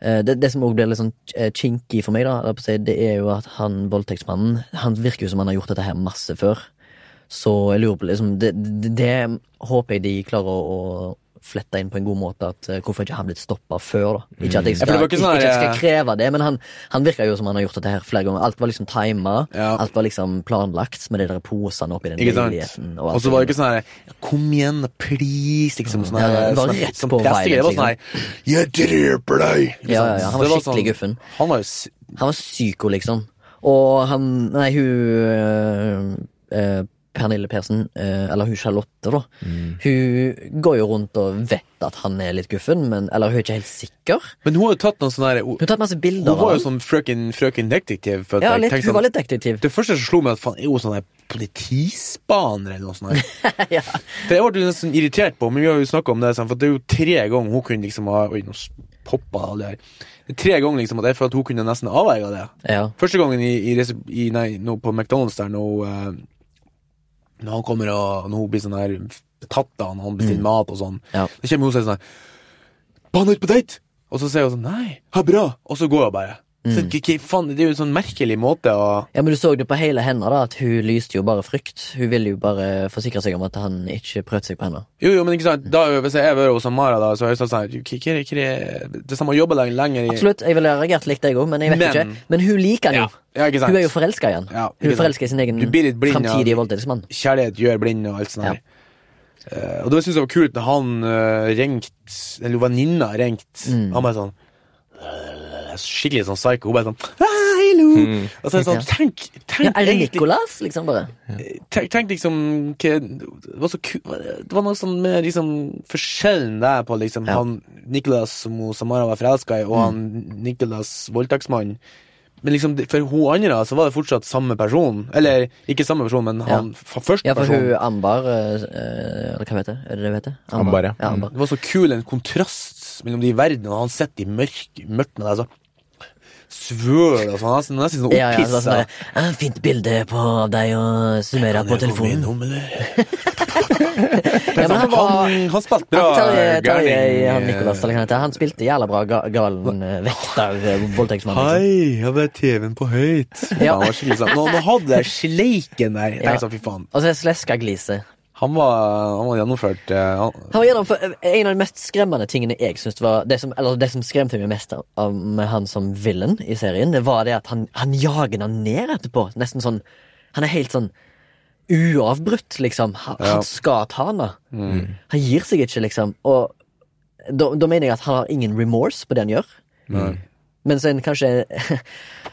eh, det, det som også blir litt sånn eh, kinky for meg, da, eller på å si, det er jo at han voldtektsmannen Han virker jo som han har gjort dette her masse før. Så jeg lurer på liksom, det, det, det håper jeg de klarer å, å flette inn på en god måte. At, eh, hvorfor ikke han blitt stoppa før, da? Ikke at jeg Ja, for det skal, var ikke ikke sånn her, ikke at jeg skal eh, kreve det, men han, han virka jo som han har gjort dette her flere ganger. Alt var liksom tima, Ja. alt var liksom planlagt med de der posene oppi den Ikke sant? leiligheten. Og så var det ikke sånn her Kom igjen, please, liksom. Sånn Mm. Ja, her, det var sånn- rett sånn på pressegreier. Det var sånn violent, her Jeg dreper deg! Ikke Ja, sant? ja, ja, Så han var det sånn, skikkelig guffen. Han var jo s- Han var psyko, liksom. Og han Nei, hun øh, øh, Pernille Persen, øh, eller hun Charlotte, da. Mm. Hun går jo rundt og vet at han er litt guffen, men, eller hun er ikke helt sikker. Men hun har jo tatt noen sånne her Hun, Hun har tatt masse bilder hun var jo av ham. sånn frøken, frøken detektiv. for at Ja, jeg litt, tenkte hun sånn- var litt detektiv. Det første som slo meg, at faen, er hun sånn her politispaner eller noe sånt? her? ja. For jeg ble jo nesten sånn irritert på, men vi har jo snakket om det, sånn, for det er jo tre ganger hun kunne liksom ha Oi, nå s- poppa alle her. Det er Tre ganger liksom at jeg føler at hun kunne nesten avverga det. ja. Første gangen i, i, resep- i nei, nå på McDonald's der, når, hun, eh, når han kommer og når hun blir sånn her betatt av han, han bestiller mat og sånn, Mm. Ja. da kommer hun og sier sånn her, «Ba han ut på date! Og så sier hun sånn, nei, ha bra! Og så går hun bare. Så, Mm. k- k- faen, det er jo en sånn merkelig måte å ja, men du så det på hele henne, da, at hun lyste jo bare frykt. Hun ville jo bare forsikre seg om at han ikke prøvde seg på henne. Jo, jo, men ikke sant, da, hvis jeg er ved hos Mara, da, så har jeg sagt sånn her, «K- k- k- det er samme å jobbe lenge, lenger i Absolutt, jeg ville reagert likt, jeg òg, men jeg vet Men- ikke. Men hun liker han jo. Ja, ikke sant? Hun er jo forelska i han. Ja, ikke hun er sant. forelska i sin egen Du blir litt blind av- framtidige voldtektsmann. kjærlighet gjør blind og alt sånt. her. Eh, og det synes jeg var kult når han uh, ringte Eller venninna ringte. Mm. Han bare sånn Skikkelig sånn psycho. Hun bare sånn Hallo! Og så er det sånn Mm. Ja. Tenk, tenk Ja, er det egentlig- Nicolas, liksom bare? tenk, tenk liksom hva, det, var så ku, det var noe sånn med liksom, forskjellen der på liksom, Ja. han Nicolas som hun Samara var forelska i, og Mm. han Nicolas voldtektsmannen. Men liksom, det- for hun andre så var det fortsatt samme person. Eller ikke samme person, men han f- første Ja, for person. hun Ambar eh, eh, Eller hva heter det? Er det det hun heter? Ambar, ja. ja. Ambar. Det var så kul en kontrast mellom de verdenene. og Han sitter i mørk, mørkt med deg, så svøl og sånn. Han er nesten- nesten sånn Ja, ja, så det er opphissa. sånn der, «Ah, Fint bilde på av deg og summera på telefonen. Ja, men han var han, han spilte bra. han, Terje, Terje, gærning. han Nicolas, eller hva han heter. Han spilte jævla bra ga galen eh, vekter, eh, voldtektsmann. Liksom. Hei, jeg vet TV-en på høyt. Ja. Han var skikkelig sånn. Nå, nå hadde jeg sleiken der. Jeg Ja. tenkte sånn, fy faen. Og så er Sleska gliset. Han var, han var gjennomført. eh, Han, Han var gjennom for En av de mest skremmende tingene jeg synes var det som, Eller det som skremte meg mest av, av- med han som villain i serien, det var det at han, han jager han ned etterpå. Nesten sånn Han er helt sånn uavbrutt, liksom. Han, Ja. Mm. han skal ta han da. Han gir seg ikke, liksom. Og da, da mener jeg at han har ingen remorse på det han gjør. Nei. Mens en kanskje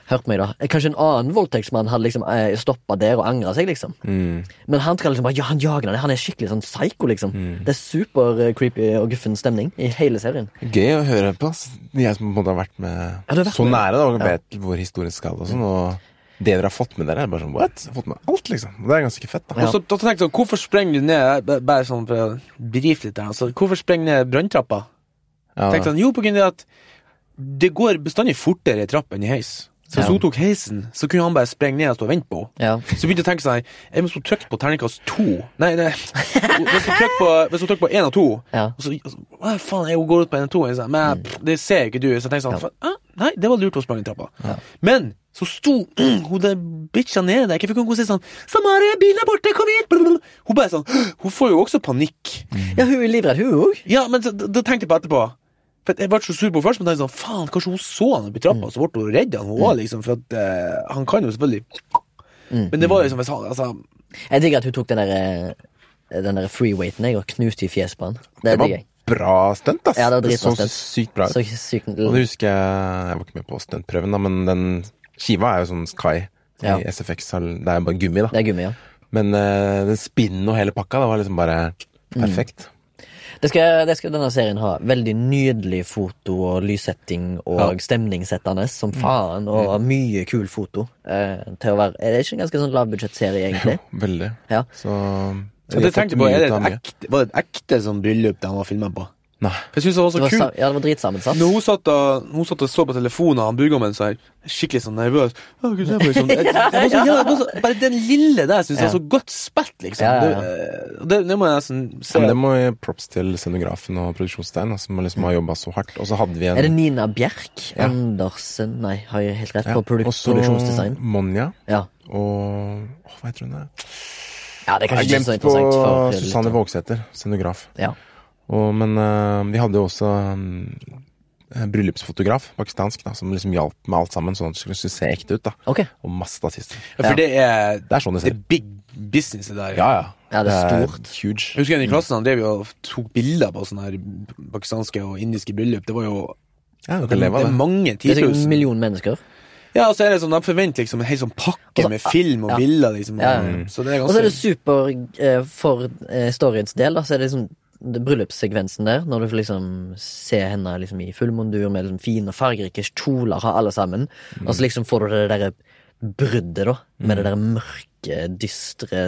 Hørt meg, da. Kanskje en annen voldtektsmann hadde liksom stoppa der og angra seg, liksom. Mm. Men han skal liksom bare, ja, han jager deg. Han er skikkelig sånn psycho, liksom. Mm. Det er super eh, creepy og guffen stemning i hele serien. Gøy å høre på. ass. Jeg som på en måte har vært med Ja, du har vært så med. nære da, og vet hvor historien skal og sånn. Og det dere har fått med dere, er bare sånn what? Jeg har fått med alt, liksom. Og Det er ganske fett, da. Og så da tenkte jeg sånn, hvorfor sprenger du ned, bare- bare sånn for å brife litt der, altså, hvorfor sprenger du ned brønntrappa? Ja, Tenkte han, jo, på grunn av at det går bestandig fortere i trapp enn i heis. Så hvis Ja. hun tok heisen, så kunne han bare sprenge ned og stå og vente på henne. Ja. Så begynte jeg å tenke sånn her, jeg Hvis hun trykte på terningkast to Nei, nei. Hvis hun trykker på, hvis hun trykker på én av to Ja. Mm. og så, og så, Hva faen, jeg går ut på én av to? jeg sa, Men jeg- det ser ikke du. Så jeg tenkte sånn, Ja. fa- «Hæ? Nei, det var lurt hun sprang i trappa. Men så sto hun der bitcha nede der. Ikke fikk hun gå og si sånn 'Samaria, bilen er borte, kom hit!' blablabla. Hun bare sånn Hun får jo også panikk. ja, hun er livredd, hun òg. Ja, men så- da da tenkte jeg på etterpå. For at Jeg ble så sur på henne først, men tenkte sånn, faen, kanskje hun så han oppi trappa, så ble hun redd han hun også, liksom, for at eh, han kan jo selvfølgelig Men det var liksom hvis han altså, Jeg digger at hun tok den der, eh, den der freeweighten jeg, og knuste i fjeset på han. Det Det digger var jeg. bra stunt, ass. Ja, det var dritbra så stunt. sykt bra ut. Så sykt Og det husker jeg Jeg var ikke med på stuntprøven, da, men den skiva er jo sånn Sky. Ja. I SFX har- Det er jo bare gummi, Det da. er gummi, ja. Men eh, den spinnen og hele pakka, det var liksom bare Mm. perfekt. Det skal, det skal denne serien ha. Veldig nydelig foto og lyssetting og stemningssettende som faen. Og Mm. mye kul foto. Eh, til å være, er det ikke en ganske sånn lavbudsjettserie, egentlig? Veldig. Ja. Så Så det tenkte jeg på, er det et mye. ekte, Var det et ekte sånn bryllup de var filma på? Nei. For Jeg synes det var Det så var, sa- kult. ja, det var dritsammensatt. Når hun satt, og, hun satt og så på telefonen, og han brudgommen så her, skikkelig sånn nervøs «Å, Gud, jeg blir sånn- jeg- jeg var så- ja, jeg var så- Bare den lille der syns jeg var så godt spilt, liksom. Ja, ja, ja. Det, eh, det, det må jeg nesten se. Men det må gi props til scenografen og produksjonssteinen, da, som liksom har jobba så hardt. Og så hadde vi en Er det Nina Bjerk? Andersen? Nei, har jeg helt rett på produk Og så produksjonsdesign? Monja Ja. og åh, Hva heter hun? da? ja, det er Jeg kanskje ikke så glemte på interessant for Susanne Vågsæter, scenograf. Ja. Og, men eh, vi hadde jo også mm, en bryllupsfotograf, pakistansk, da, som liksom hjalp med alt sammen, sånn at det skulle se ekte ut. da Ok. Og masse statister. Ja, for det er Det er sånn de Det ser er ut. big business, det der. Ja, ja. Ja, det er Jeg Huge. husker en i klassen han drev jo og tok bilder på sånne her pakistanske og indiske bryllup. Det var jo Ja, du det, kan leve er av det. mange Det er sikkert en titusen. million mennesker. Ja, og så er det sånn, de forventer liksom en hel sånn pakke Altså, med film og ja. bilder, liksom. Ja, ja. Så det er Og så ganske er det super eh, for eh, storyens del, da, så er det liksom det bryllupssekvensen der, når du får liksom se henne liksom i fullmondur med liksom fine og fargerike kjoler, har alle sammen, Mm. og så liksom får du det derre bruddet, da, med det derre mørke, dystre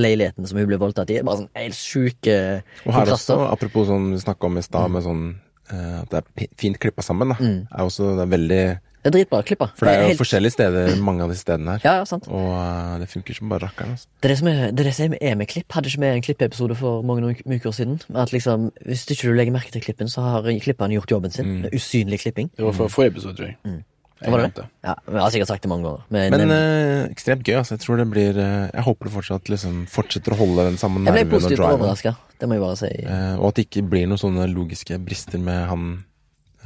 leiligheten som hun ble voldtatt i. Bare sånn helt sjuke Og her også, kontraster. apropos sånn vi snakka om i stad, med sånn eh, at det er pi- fint klippa sammen, da. Er også, det er veldig Mm. Det er dritbra klippa. For det er jo helt- forskjellige steder, mange av de stedene her. Ja, ja, sant. Og eh, det funker som bare rakkeren. Altså. Det er det som er, det er, det som er med klipp. Hadde ikke vi en klippeepisode for mange noen uker siden? At liksom, Hvis ikke du legger merke til klippen, så har klipperen gjort jobben sin. Mm. Det er Usynlig klipping. Det var fra forrige episode, tror jeg. Jeg Mm. Var det glemte det? Ja, men Jeg har sikkert sagt det mange ganger. Men, Men eh, eh, ekstremt gøy. altså Jeg tror det blir eh, Jeg håper det fortsatt liksom fortsetter å holde den samme jeg ble nerven og positivt driven. overraska. Det må jeg bare si. Eh, og at det ikke blir noen sånne logiske brister med han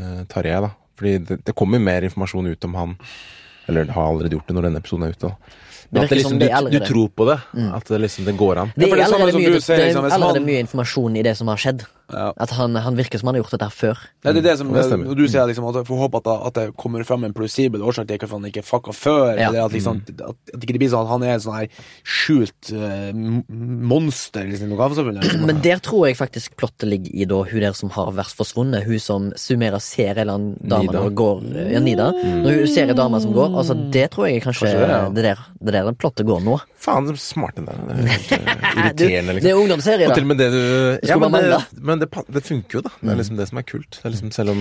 eh, Tarjei, da. Fordi det, det kommer mer informasjon ut om han. Eller det har allerede gjort det når denne episoden er ute. Da. Men virker at det som liksom, det du, er allerede. Mm. du tror på det. At det liksom det går an. Ja, Det for det er er samme allerede, som mye, du det, sier, liksom, er hvis allerede han- mye informasjon i det som har skjedd. Ja. At han, han virker som han har gjort dette her før. Nei, det er det som det stemmer. Når du sier liksom, at jeg får håpe at, det- at det kommer fram en plausibel årsak til hvorfor han ikke fucka før, Ja. Mm. eller at liksom at, at ikke det blir sånn at han er et sånn her skjult eh, m- monster liksom, i lokalsamfunnet. Liksom. Men der tror jeg faktisk plottet ligger i da hun der som har vært forsvunnet. Hun som summerer ser en eller annen dame Nida. når hun går Ja, Nida. Når hun ser en dame som går, altså det tror jeg kanskje, Mm. Kanskje det, ja. det, der, det der den plottet går nå. Faen, så smart den der. Det er helt, eh, Du, irriterende, Det liksom. er ungdomsserie, Og da. til og med det du Ja, men mangle. det, men det, pa- det funker jo, da. Det er liksom det som er kult. Det er liksom, selv om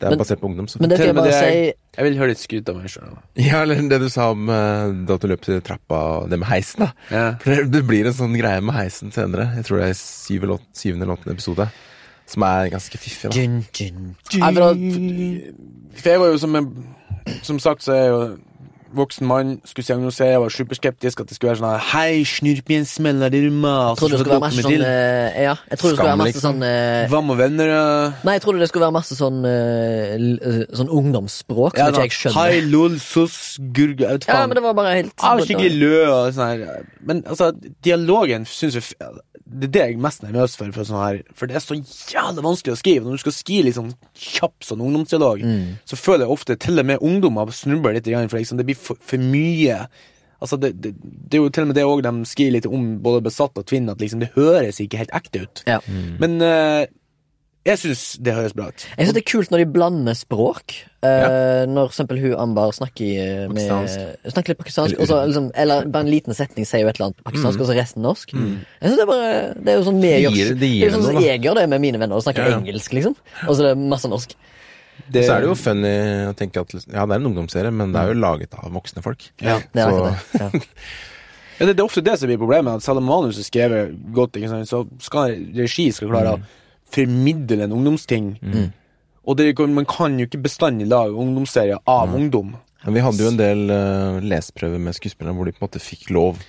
det er Mm. Men- basert på ungdom. Så Men det Til skal jeg og med det bare si er- Jeg vil høre litt skryt av meg sjøl. Ja, eller det du sa om eh, da du løp til trappa og det med heisen, da. Ja. For det, det blir en sånn greie med heisen senere. Jeg tror det er i syv eller åt- syvende eller åttende episode. Som er ganske fiffig, da. Dun, dun. Nei, for, at, for jeg var jo som en- Som sagt så er jeg jo voksen mann, skulle diagnosere, jeg var superskeptisk at det skulle være sånn her Hei, snurpien smeller det i rumma. Jeg trodde det skulle være masse sånn eh, Ja, jeg trodde det skulle være Skam, masse liksom. sånn eh, Hva med venner? eh? Nei, jeg trodde det skulle være masse sånn eh, l- eh, Sånn ungdomsspråk som da. ikke jeg skjønner. Hei, lol, sos, gurg Jeg vet Ja, faen. men det var bare helt jeg var skikkelig lø og sånn her. Men altså, dialogen syns jeg f- Det er det jeg er mest nervøs for, for, sånn her, for det er så jævlig vanskelig å skrive. Når du skal skrive litt sånn kjapp sånn ungdomsdialog, Mm. så føler jeg ofte til og med ungdommer snubler litt, igjen, for liksom, det blir for, for mye. Altså, det, det, det er jo til og med det òg de Mm. skriver litt om, både besatt og tvinn, at liksom, det høres ikke helt ekte ut. Ja. Men eh, Jeg syns det høres bra ut. Jeg synes det er kult når de blander språk. Eh, Når for eksempel hun Ambar snakker, eh, med, Pakistansk. snakker litt pakistansk, Eller- Mm. og så liksom, eller bare en liten setning sier jo et eller annet pakistansk, og så resten norsk. Jeg synes Det er bare, det er jo sånn vi Det gjør, gir- det det gir er jo sånn noe, som da. jeg gjør det med mine venner, og snakker Ja, ja. engelsk, liksom. Og så er det masse norsk. Og så er det jo funny å tenke at Ja, det er en ungdomsserie, men det er jo laget av voksne folk. Ja. Mm. Det er Så- akkurat det. Ja. Ja, det, det er ofte det som blir problemet. At selv om manuset er skrevet godt, ikke sant? så skal regi skal klare å formidle en ungdomsting. Og det, kan- man kan jo ikke bestandig lage ungdomsserier av ungdom. Men vi hadde jo en del eh, leseprøver med skuespillerne hvor de på en måte fikk lov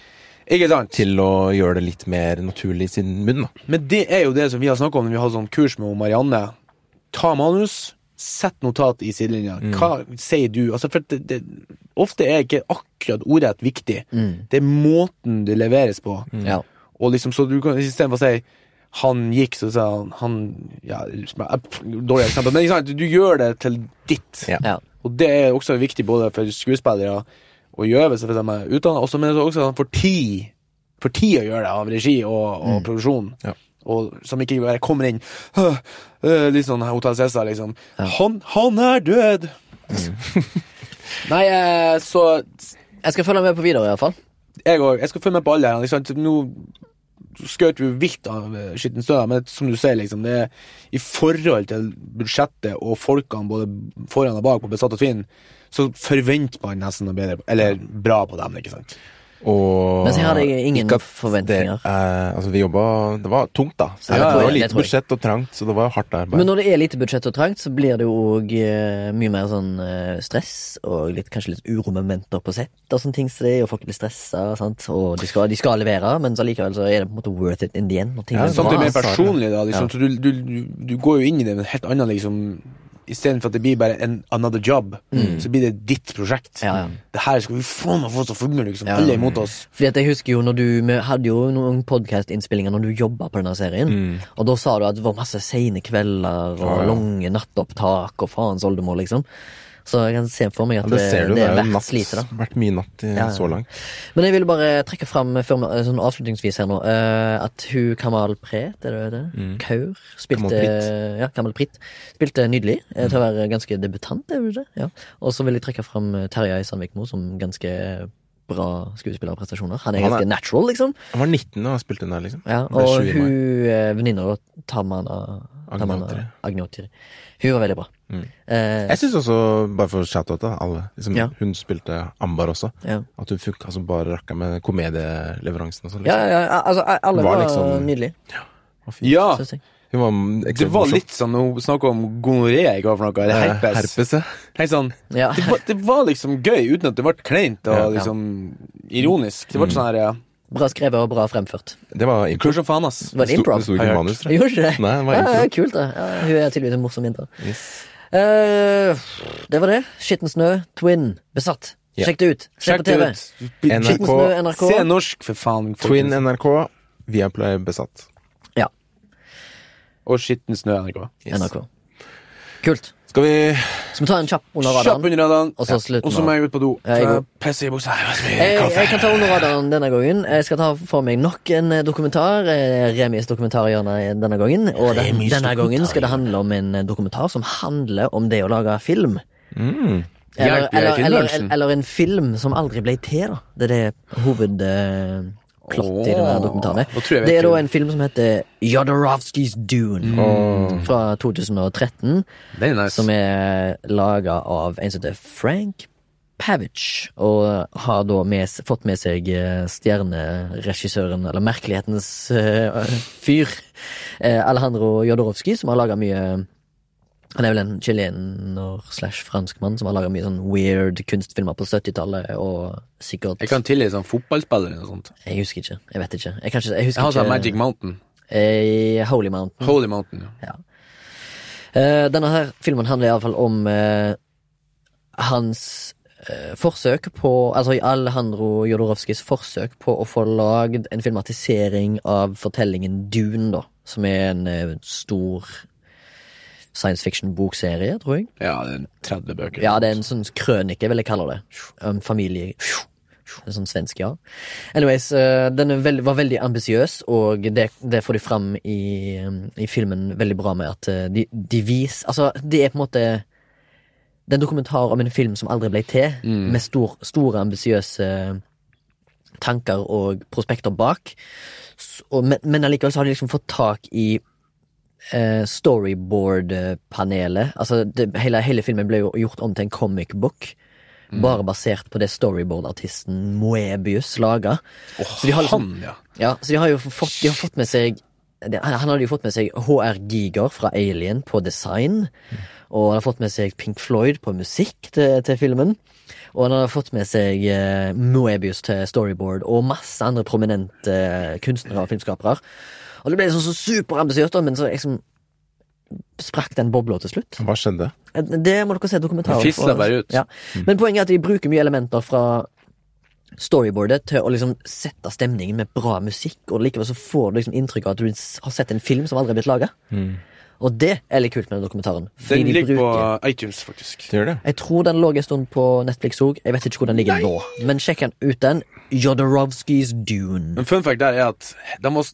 Ikke sant? til å gjøre det litt mer naturlig i sin munn. da. Men det er jo det som vi har snakka om når vi hadde sånn kurs med Marianne. Ta manus, sett notat i sidelinja. Hva sier du? Altså, for det, det, ofte er ikke akkurat ordrett viktig. Det er måten det leveres på. Ja. Og liksom, så du kan istedenfor å si han gikk, så sa han han ja, liksom, Dårlig eksempel, men ikke sant? du gjør det til ditt. Ja. Ja. Og det er også viktig både for skuespillere å gjøre hvis de er utdannet, også, men også at han får tid for tid å gjøre det av regi og, og produksjon. Mm. Ja. Og som ikke bare kommer inn «Hø, øh, litt sånn Hotell Cæsar, liksom. Han, han er død! Mm. Nei, eh, så Jeg skal følge med på videre, iallfall. jeg òg. Jeg skal følge med på alle. her, Ikke sant? Nå skjøt vi jo vilt av eh, skitten støv, men som du sier, liksom, det er i forhold til budsjettet og folkene både foran og bak på Besatt og Tvinn, så forventer man nesten noe bedre, eller bra på dem, ikke sant? Og Men så hadde jeg ingen ikke at forventninger. Det, eh, altså, vi jobba Det var tungt, da. Så det, Ja, det tror var jeg, det lite tror jeg. budsjett og trangt, så det var hardt Men arbeid. når det er lite budsjett og trangt, så blir det jo òg eh, mye mer sånn eh, stress og litt, kanskje litt uromomenter på sett og sånne ting som det, er, og folk blir stressa, sant, og de skal, de skal levere, men så allikevel så er det på en måte worth it in the end. Når ting Ja, blir bra. Samtidig mer Ja, personlig, da. Liksom, så du, du, du, du går jo inn i det med en helt annen, liksom Istedenfor at det blir bare en another job, så blir det ditt prosjekt. Mm. Ja, ja. Det her skal vi faen meg få til å funke, liksom. Ja. Alle er imot oss. Fordi at jeg husker jo når du Vi hadde jo noen podkast-innspillinger når du jobba på denne serien. Og da sa du at det var masse seine kvelder Mm. og Ja, ja. lange nattopptak og faens oldemor, liksom. Så jeg kan se for meg Ja, at det ser du, det, er jo verdt natt. slitet, da. Vært mye natt i, Ja, ja. så langt. Men jeg ville bare trekke fram før, vi- sånn avslutningsvis her nå eh, at hun Kamal Pret, er det det? Kaur, spilte Mm. Kamal Mm. Prit. Ja, Kamal Prit. Spilte nydelig eh, til å være ganske debutant, er hun ikke det? Ja. Og så vil jeg trekke fram eh, Terjei Sandvikmo som ganske bra skuespillerprestasjoner. Han er Han er- ganske natural, liksom. Jeg var 19 da jeg spilte den der, liksom. Ja, Det ble og sju i meg. hun eh, venninna Tamana Agnautiri. Tamana Agnautiri. eh, Hun var veldig bra. Eh, Mm. Jeg syns også, bare for shout-out til alle liksom, Ja. Hun spilte Ambar også. ja. At hun funka som bare rakka med komedieleveransen og sånn. Ja, ja, ja, altså alle Var var, liksom- nydelige, Å, fy. Ja, syns jeg. Hun var det var litt sånn Hun snakka om gonoré, ikke hva for noe? Eller herpes. Eh, herpes ja. Helt sånn Ja. det, var, det var liksom gøy, uten at det ble kleint og Ja. Mm. liksom ironisk. Det ble sånn her ja. Bra skrevet og bra fremført. Det var impro. Kurs og faen, ass. Var det improv? Det sto ikke Har jeg i hørt. manus, tror jeg. Gjorde ikke det? Nei, det var Ja, impro. ja, kult, det. Ja, hun er tydeligvis en morsom jente. Yes. Eh, det var det. Skitten snø, Twin, besatt. Ja. Sjekk det ut. Se Sjekk på det TV. ut. Bli- NRK. Skitten snø, NRK. Se norsk, for faen. folkens. Twin NRK, Viaplay besatt. Ja, og Skitten snø, NRK. Yes. NRK. Kult. Skal vi Skal vi ta en kjapp under Kjapp radaren? under radaren. Og så slutten Og så av- må jeg ut på do. Ja, jeg for går. jeg pisser i buksa. Jeg må spise Jeg, kaffe. jeg kan ta under radaren denne gangen. Jeg skal ta for meg nok en eh, dokumentar. eh, Remis dokumentarhjørne denne gangen. Og den, Remis denne gangen skal det handle om en eh, dokumentar som handler om det å lage film. Eller, Hjelp, jeg er eller, Finn eller, Larsen. eller en film som aldri ble til, da. Det er det hoved... eh, Plott i denne Åh, dokumentaren. da tror jeg jeg Det vet er da hvem. en film som heter Jodorowskys Dune Mm. fra 2013. Det er nice. Som er laga av en som heter Frank Pavic, og har da med, s- fått med seg eh, stjerneregissøren, eller merkelighetens eh, fyr, eh, Alejandro Jodorowsky, som har laga mye han er vel en chilener slash franskmann som har laga mye sånn weird kunstfilmer på 70-tallet, og sikkert Jeg kan tilgi sånn fotballspiller eller noe sånt. Jeg husker ikke. Jeg vet ikke. Jeg, kan ikke, jeg Jeg har husker sånn ikke Magic Mountain. eh, Holy Mountain. Holy Mountain. ja. Eh, denne her filmen handler iallfall om eh, hans eh, forsøk på Altså Alejandro Jodorowskis forsøk på å få lagd en filmatisering av fortellingen Dune, da. Som er en eh, stor science fiction-bokserie, tror jeg. Ja, det er 30 bøker. Ja, det er en sånn krønike, vil jeg kalle det. En familie En sånn svensk, ja. Anyways, eh, den er veld, var veldig ambisiøs, og det, det får de fram i, eh, i filmen veldig bra med at eh, de, de viser Altså, det er på en måte den dokumentar om en film som aldri ble til, med stor, store, ambisiøse tanker og prospekter bak. S- og, men, men allikevel så har de liksom fått tak i eh, storyboard-panelet. Altså, det, hele, hele filmen ble jo gjort om til en comic book. Bare basert på det storyboard-artisten Moebius laga. Åh, Så de har liksom- han, ja. Ja, så de har jo fått, de har fått med seg det- han han hadde jo fått med seg HR Giger fra Alien på design. Og han har fått med seg Pink Floyd på musikk til, til filmen. Og han har fått med seg eh, Moebius til storyboard og masse andre prominente eh, kunstnere og filmskapere. Og det ble sånn så superambisiøst, da, men så liksom sprakk den bobla til slutt. Hva skjedde? Det må dere se dokumentarer Den fisler for. bare ut. Mm. Ja. Men poenget er at de bruker mye elementer fra storyboardet til å liksom sette stemningen med bra musikk, og likevel så får du liksom inntrykk av at du har sett en film som aldri er blitt laga. Og det er litt kult med den dokumentaren. Fordi Mm. Den de ligger bruker på iTunes, faktisk. Det gjør det. Jeg tror den lå en stund på Netflix òg. Jeg vet ikke hvor den ligger nå. Men sjekk den ut, den. Jodorowskys Dune. Men fun fact der er at de var s-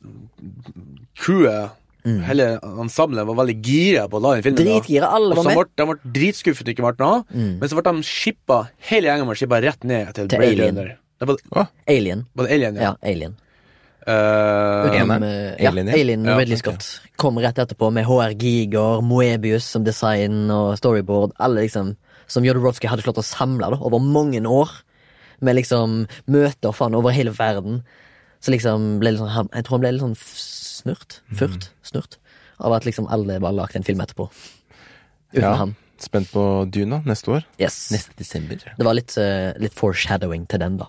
crewet, Mm. hele ensemblet, var veldig gira på å lage den filmen. da. Dritgira. Alle Og var så med. ble, Mm. de ble dritskuffet det ikke ble noe av, men så ble de shippa, hele gjengen ble shippa rett ned til, Til Blade Alien. Runner. Det var, Alien. var det Alien, ja. Ja, Alien. Eh, Utenom, Eneren? eh, ja, Alien, ja. Alien med Ja, Ridley ok. Scott kom rett etterpå med HR Giger, Moebius som design og storyboard. Alle liksom som Jodorowsky hadde klart å samle da, over mange år. Med liksom møter faen over hele verden. Så liksom ble litt sånn, han- Jeg tror han ble litt sånn f- snurt. Mhm. Furt. Snurt. Av at liksom alle bare lagde en film etterpå. Uten Ja. han. Spent på Duna neste år. Yes. Neste desember. Det var litt, eh, litt foreshadowing til den, da.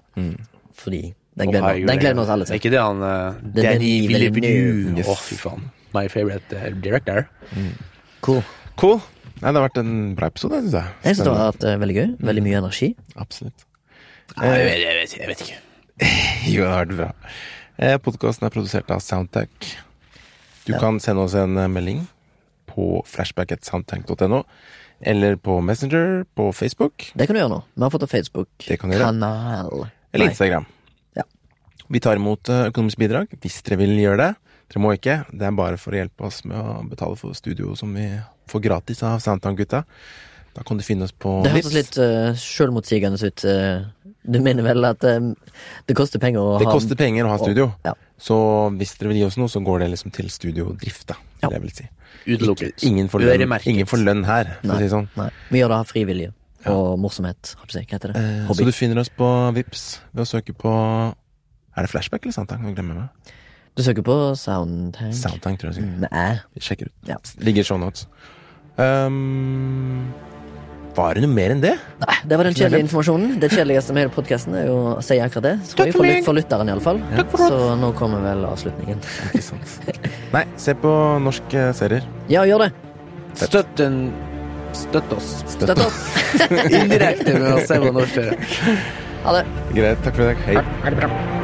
Fordi den Mm. å, gleder, herregud, den gleder vi oss alle Er til. ikke det han eh, Den Danny er veldig Villeneuve? Å, new. fy faen. My favorite eh, director. Cool. Cool. Nei, det har vært en bra episode, syns jeg. Jeg syns det har vært eh, veldig gøy. Veldig mye energi. Absolutt. Nei, jeg, vet- jeg, vet, jeg vet ikke. Jo, det har vært bra. Eh, Podkasten er produsert av Soundtank. Du kan sende oss en eh, melding på flashback.soundtank.no, eller på Messenger på Facebook Det kan du gjøre nå. Vi har fått en Det kan du gjøre. Facebook-kanal. eller Instagram. Ja. Vi tar imot eh, økonomisk bidrag hvis dere vil gjøre det. Dere må ikke. Det er bare for å hjelpe oss med å betale for studio som vi får gratis av Soundtank-gutta. Da kan du finne oss på Det Vipps. hørtes litt uh, sjølmotsigende ut. eh. du mener vel at eh, det koster penger å Det ha koster penger å ha studio. Ja. Så hvis dere vil gi oss noe, så går det liksom til studiodrift, da. vil Ja. Jeg vil si. Utelukket. Ingen får lønn, Øremerket. ingen får lønn her, for Nei. å si det sånn. Nei, Vi gjør det av frivillige og morsomhet. håper jeg. Hva heter det? Eh, Så Hobby. du finner oss på Vips ved å søke på Er det flashback eller soundtank? Jeg glemmer meg. Du, søker på Soundtank? Soundtank, tror jeg. sikkert. Nei. Vi sjekker ut. Ja. Ligger i show notes. Um, var det noe mer enn det? Nei, det var den kjedelige informasjonen. Det kjedeligste med hele podkasten er jo å si akkurat det. Tror jeg, for, lyt for lytteren, iallfall. Ja. Så nå kommer vel avslutningen. Ikke sant. Nei, se på norske serier. Ja, gjør det! Støtt, den, støtt oss. Støtt oss! Indirekte med å se på norsk TV. Ha det. Greit. Takk for i dag. Hei. Ha det bra.